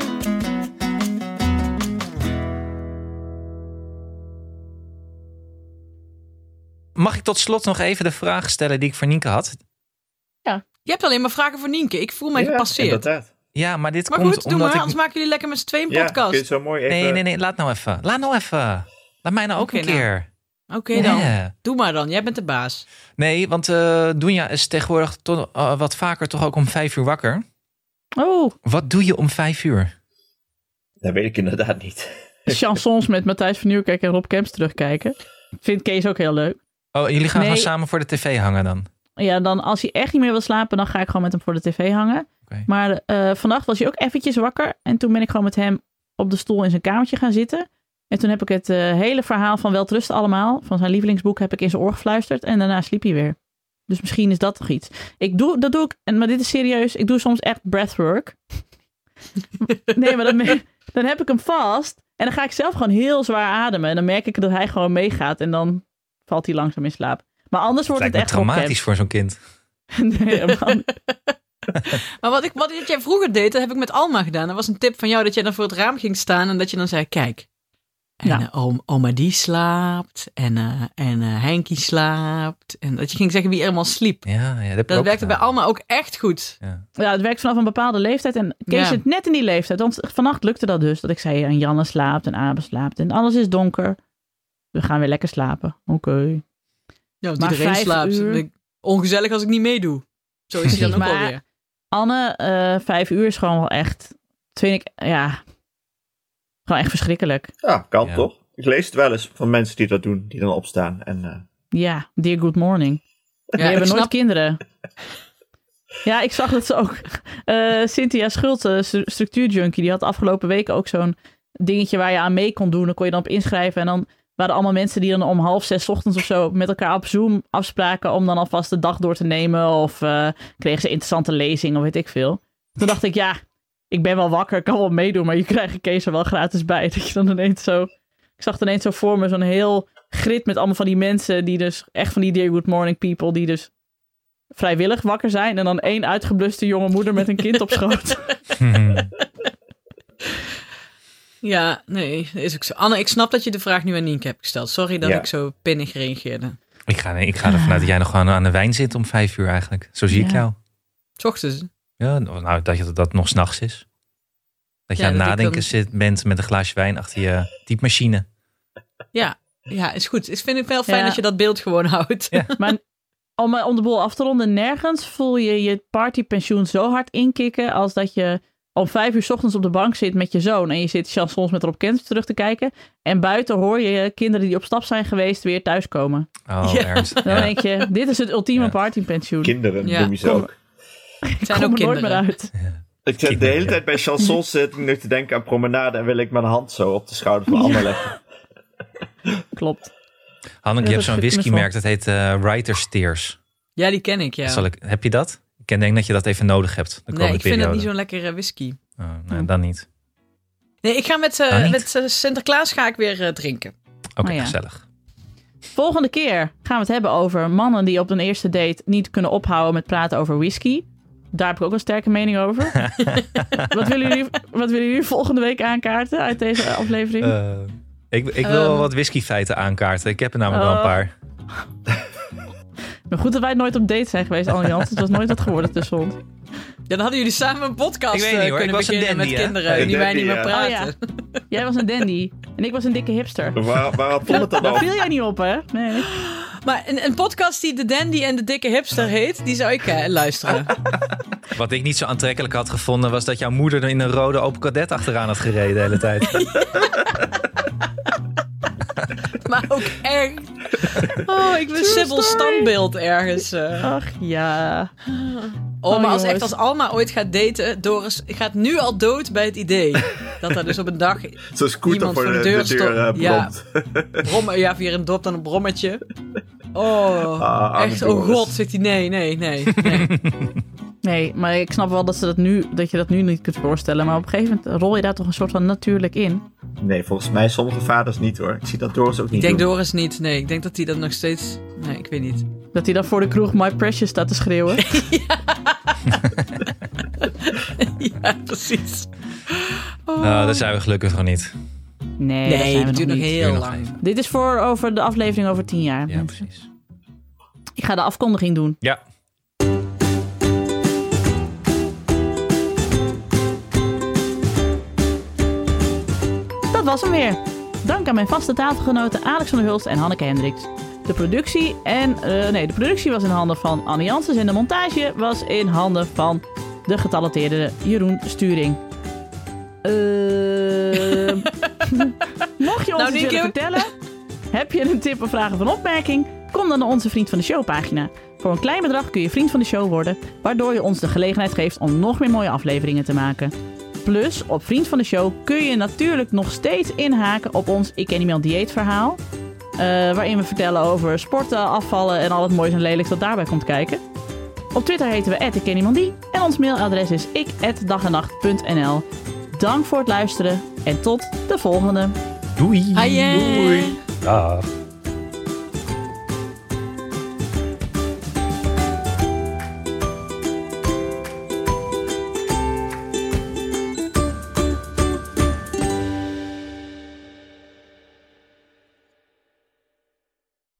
Speaker 3: Mag ik tot slot nog even de vraag stellen die ik voor Nienke had?
Speaker 2: Je hebt alleen maar vragen voor Nienke. Ik voel mij
Speaker 4: Ja,
Speaker 2: gepasseerd.
Speaker 4: Inderdaad.
Speaker 3: Ja, maar dit
Speaker 2: Maar
Speaker 3: komt
Speaker 2: goed, doe
Speaker 3: eh, omdat
Speaker 2: maar,
Speaker 3: ik...
Speaker 2: anders maken jullie lekker met z'n tweeën een
Speaker 4: Ja, kun je het
Speaker 2: podcast.
Speaker 4: zo mooi even...
Speaker 3: Nee, nee, nee, laat nou even. Laat nou even. Laat mij nou ook
Speaker 2: Oké,
Speaker 3: een
Speaker 2: nou.
Speaker 3: keer.
Speaker 2: Oké dan,
Speaker 3: Ja.
Speaker 2: doe maar dan. Jij bent de baas.
Speaker 3: Nee, want eh Doenja is tegenwoordig toch, eh, wat vaker toch ook om vijf uur wakker.
Speaker 1: Oh,
Speaker 3: Wat doe je om vijf uur?
Speaker 4: Dat weet ik inderdaad niet.
Speaker 1: chansons met Matthijs van Nieuwkerk en Rob Kemps terugkijken. Vindt Kees ook heel leuk.
Speaker 3: Oh, jullie gaan
Speaker 1: Nee.
Speaker 3: gewoon samen voor de tv hangen dan?
Speaker 1: Ja, dan als hij echt niet meer wil slapen, dan ga ik gewoon met hem voor de tv hangen.
Speaker 3: Oké.
Speaker 1: Maar eh, vannacht was hij ook eventjes wakker. En toen ben ik gewoon met hem op de stoel in zijn kamertje gaan zitten. En toen heb ik het eh, hele verhaal van Weltrust allemaal, van zijn lievelingsboek, heb ik in zijn oor gefluisterd. En daarna sliep hij weer. Dus misschien is dat toch iets. Ik doe, dat doe ik, en, maar dit is serieus, ik doe soms echt breathwork. nee, maar dan, me- dan heb ik hem vast. En dan ga ik zelf gewoon heel zwaar ademen. En dan merk ik dat hij gewoon meegaat. En dan valt hij langzaam in slaap. Maar anders wordt
Speaker 3: Lijkt
Speaker 1: het,
Speaker 3: me
Speaker 1: echt Rob Kemp.
Speaker 3: traumatisch voor zo'n kind.
Speaker 1: Nee, man.
Speaker 2: Maar wat, ik, wat jij vroeger deed, dat heb ik met Alma gedaan. Dat was een tip van jou dat jij dan voor het raam ging staan en dat je dan zei: Kijk, en,
Speaker 1: Ja.
Speaker 2: eh, oom- oma die slaapt en, eh, en eh, Henkie slaapt. En dat je ging zeggen wie allemaal sliep.
Speaker 3: Ja, ja, dat, heb ik
Speaker 2: Dat
Speaker 3: ook
Speaker 2: werkte bij
Speaker 3: gedaan.
Speaker 2: Alma ook echt goed.
Speaker 1: Ja, het werkt vanaf een bepaalde leeftijd. En Kees
Speaker 2: Ja.
Speaker 1: zit net in die leeftijd. Want vannacht lukte dat dus. Dat ik zei, en Janne slaapt en Abe slaapt. En alles is donker. We gaan weer lekker slapen. Oké.
Speaker 2: Ja, want
Speaker 1: Maar
Speaker 2: iedereen
Speaker 1: vijf
Speaker 2: slaapt.
Speaker 1: uur-
Speaker 2: Ik- Ongezellig als ik niet meedoe. Zo is hij dan ook
Speaker 1: Maar-
Speaker 2: alweer.
Speaker 1: Anne, eh, vijf uur is gewoon wel echt... Dat vind ik, ja... Gewoon echt verschrikkelijk.
Speaker 4: Ja, Ah, kan
Speaker 3: Ja.
Speaker 4: toch? Ik lees het wel eens van mensen die dat doen, die dan opstaan. En, eh,
Speaker 1: Ja, dear good morning.
Speaker 2: Ja,
Speaker 1: Die
Speaker 2: ik
Speaker 1: hebben nooit
Speaker 2: snap-
Speaker 1: kinderen. Ja, ik zag dat ze ook. eh, Cynthia Schulte, stru- structuurjunkie, die had afgelopen week ook zo'n dingetje waar je aan mee kon doen. Dan kon je dan op inschrijven. En dan waren allemaal mensen die dan om half zes 's ochtends of zo met elkaar op Zoom afspraken om dan alvast de dag door te nemen. Of eh, kregen ze interessante lezingen of weet ik veel. Toen dacht ik, ja, ik ben wel wakker, kan wel meedoen, maar je krijgt een case er wel gratis bij. Dat je dan ineens zo... Ik zag het ineens zo voor me zo'n heel grid met allemaal van die mensen die dus echt van die Dear Good Morning People die dus vrijwillig wakker zijn en dan één uitgebluste jonge moeder met een kind op schoot.
Speaker 2: Ja, nee, dat is ook zo. Anne, ik snap dat je de vraag nu aan Nienke hebt gesteld. Sorry dat
Speaker 4: Ja.
Speaker 2: ik zo pinnig reageerde.
Speaker 3: ik, ga, ik ga ervan uit dat jij nog gewoon aan de wijn zit om vijf uur eigenlijk. Zo zie ik
Speaker 1: Ja.
Speaker 3: jou.
Speaker 2: S ochtends.
Speaker 3: Ja, nou, dat je- dat nog s'nachts is. Dat je
Speaker 2: Ja,
Speaker 3: aan het
Speaker 2: dat ik
Speaker 3: nadenken
Speaker 2: dan-
Speaker 3: zit, bent met een glaasje wijn achter je diepmachine.
Speaker 2: Ja, is goed. Ik vind het wel fijn
Speaker 1: Ja.
Speaker 2: dat je dat beeld gewoon houdt.
Speaker 3: Ja.
Speaker 1: Maar om, eh, om de boel af te ronden, nergens voel je je partypensioen zo hard inkikken als dat je om vijf uur 's ochtends op de bank zit met je zoon en je zit chansons met Rob Kent terug te kijken en buiten hoor je kinderen die op stap zijn geweest weer thuiskomen.
Speaker 3: Oh,
Speaker 2: Ja.
Speaker 3: Ernst.
Speaker 1: Dan
Speaker 3: Ja.
Speaker 1: denk je, dit is het ultieme
Speaker 3: Ja.
Speaker 1: partypensioen. Ik
Speaker 4: kinderen
Speaker 2: Ja,
Speaker 4: noem je ze
Speaker 1: kom.
Speaker 4: ook.
Speaker 2: Het
Speaker 1: kom
Speaker 2: zijn
Speaker 1: er
Speaker 2: ook
Speaker 1: nooit
Speaker 2: kinderen.
Speaker 1: meer uit.
Speaker 4: Ik zit de
Speaker 3: Kinderen,
Speaker 4: hele
Speaker 3: ja.
Speaker 4: tijd bij chansons zit ik nu te denken aan promenade en wil ik mijn hand zo op de schouder van Anne leggen.
Speaker 1: Klopt.
Speaker 3: Hanneke,
Speaker 1: Ja,
Speaker 3: je hebt
Speaker 1: dat
Speaker 3: zo'n
Speaker 1: schiet me van.
Speaker 3: whiskymerk, dat heet eh Writer's Tears.
Speaker 2: Ja, die ken ik, ja.
Speaker 3: Zal ik, heb je dat? Ik ken- denk dat je dat even nodig hebt. De
Speaker 2: nee,
Speaker 3: komende
Speaker 2: ik vind dat
Speaker 3: periode.
Speaker 2: niet zo'n lekkere whisky.
Speaker 3: Oh, nee, dan niet.
Speaker 2: Nee, ik ga met, eh,
Speaker 3: Nou, niet?
Speaker 2: met eh, Sinterklaas ga ik weer eh, drinken.
Speaker 3: Oké,
Speaker 1: Oh, ja.
Speaker 3: gezellig.
Speaker 1: Volgende keer gaan we het hebben over mannen die op hun eerste date niet kunnen ophouden met praten over whisky. Daar heb ik ook een sterke mening over. wat, willen jullie, wat willen jullie volgende week aankaarten uit deze aflevering?
Speaker 3: Eh, ik, ik wil wel
Speaker 2: Ehm.
Speaker 3: wat whiskyfeiten aankaarten. Ik heb er namelijk wel
Speaker 1: Oh.
Speaker 3: een paar.
Speaker 1: Maar goed dat wij nooit op date zijn geweest, Anne Jans. Het was nooit wat geworden tussen ons.
Speaker 2: Ja, dan hadden jullie samen een podcast
Speaker 3: Ik weet niet,
Speaker 2: eh,
Speaker 3: hoor.
Speaker 2: kunnen
Speaker 3: Ik was een
Speaker 2: beginnen
Speaker 3: dandy,
Speaker 2: met
Speaker 3: hè?
Speaker 2: kinderen
Speaker 4: Een
Speaker 2: die wij
Speaker 4: dandy,
Speaker 2: niet meer
Speaker 1: Oh
Speaker 4: ja.
Speaker 2: praten.
Speaker 1: ja, jij was een dandy en ik was een dikke hipster.
Speaker 4: Waar, waar had Tom het dan
Speaker 1: Daar viel
Speaker 4: over?
Speaker 1: jij niet op, hè? Nee.
Speaker 2: Maar een, een podcast die de dandy en de dikke hipster heet, die zou ik eh, luisteren.
Speaker 3: Wat ik niet zo aantrekkelijk had gevonden, was dat jouw moeder er in een rode open cadet achteraan had gereden de hele tijd.
Speaker 2: maar ook echt. Oh, ik ben Sibyl standbeeld ergens. eh.
Speaker 1: Ach ja.
Speaker 2: Oh, maar als, echt
Speaker 1: jongens.
Speaker 2: als Alma ooit gaat daten, Doris gaat nu al dood bij het idee. dat daar dus op een dag
Speaker 4: Zo'n scooter
Speaker 2: Iemand
Speaker 4: voor
Speaker 2: voor
Speaker 4: de,
Speaker 2: de
Speaker 4: de
Speaker 2: deur
Speaker 4: deur,
Speaker 2: stopt.
Speaker 4: eh,
Speaker 2: Ja.
Speaker 4: bromt.
Speaker 2: brommen, ja, via een dop dan een brommetje. Oh,
Speaker 4: Ah, arme
Speaker 2: echt, oh
Speaker 4: Doris.
Speaker 2: god, zegt hij, nee, nee, nee, nee.
Speaker 1: Nee, maar ik snap wel dat, ze dat, nu, dat je dat nu niet kunt voorstellen. Maar op een gegeven moment rol je daar toch een soort van natuurlijk in.
Speaker 4: Nee, volgens mij sommige vaders niet hoor. Ik zie dat Doris ook niet
Speaker 2: Ik denk
Speaker 4: doen.
Speaker 2: Doris niet, nee. Ik denk dat hij dat nog steeds... Nee, ik weet niet.
Speaker 1: Dat hij dan voor de kroeg My Precious staat te schreeuwen.
Speaker 2: ja, precies. Oh.
Speaker 3: Nou, dat zijn we gelukkig nog niet.
Speaker 1: Nee, dat zijn
Speaker 2: nee,
Speaker 1: we
Speaker 2: het
Speaker 1: nog
Speaker 2: duurt nog
Speaker 1: niet.
Speaker 2: heel
Speaker 3: Duurt nog
Speaker 2: lang.
Speaker 1: Dit is voor over de aflevering over tien jaar.
Speaker 3: Ja, precies.
Speaker 1: Ik ga de afkondiging doen.
Speaker 3: Ja,
Speaker 1: Dat was hem weer. Dank aan mijn vaste tafelgenoten Alex van der Hulst en Hanneke Hendricks. De productie, en, eh, nee, de productie was in handen van Anne Janssens en de montage was in handen van de getalenteerde Jeroen Sturing. Eh, mocht je ons
Speaker 2: Nou,
Speaker 1: iets
Speaker 2: Nieke.
Speaker 1: willen vertellen, heb je een tip of vraag of een opmerking, kom dan naar onze Vriend van de Show pagina. Voor een klein bedrag kun je Vriend van de Show worden, waardoor je ons de gelegenheid geeft om nog meer mooie afleveringen te maken. Plus, op Vriend van de Show kun je natuurlijk nog steeds inhaken op ons Ik Ken Iemand Dieet verhaal. eh, waarin we vertellen over sporten, afvallen en al het moois en lelijks dat daarbij komt kijken. Op Twitter heten we Ik Ken Iemand Die en ons mailadres is ik@dagennacht.nl. Dank voor het luisteren en tot de volgende.
Speaker 6: Doei.
Speaker 2: Hai, eh.
Speaker 6: Dag.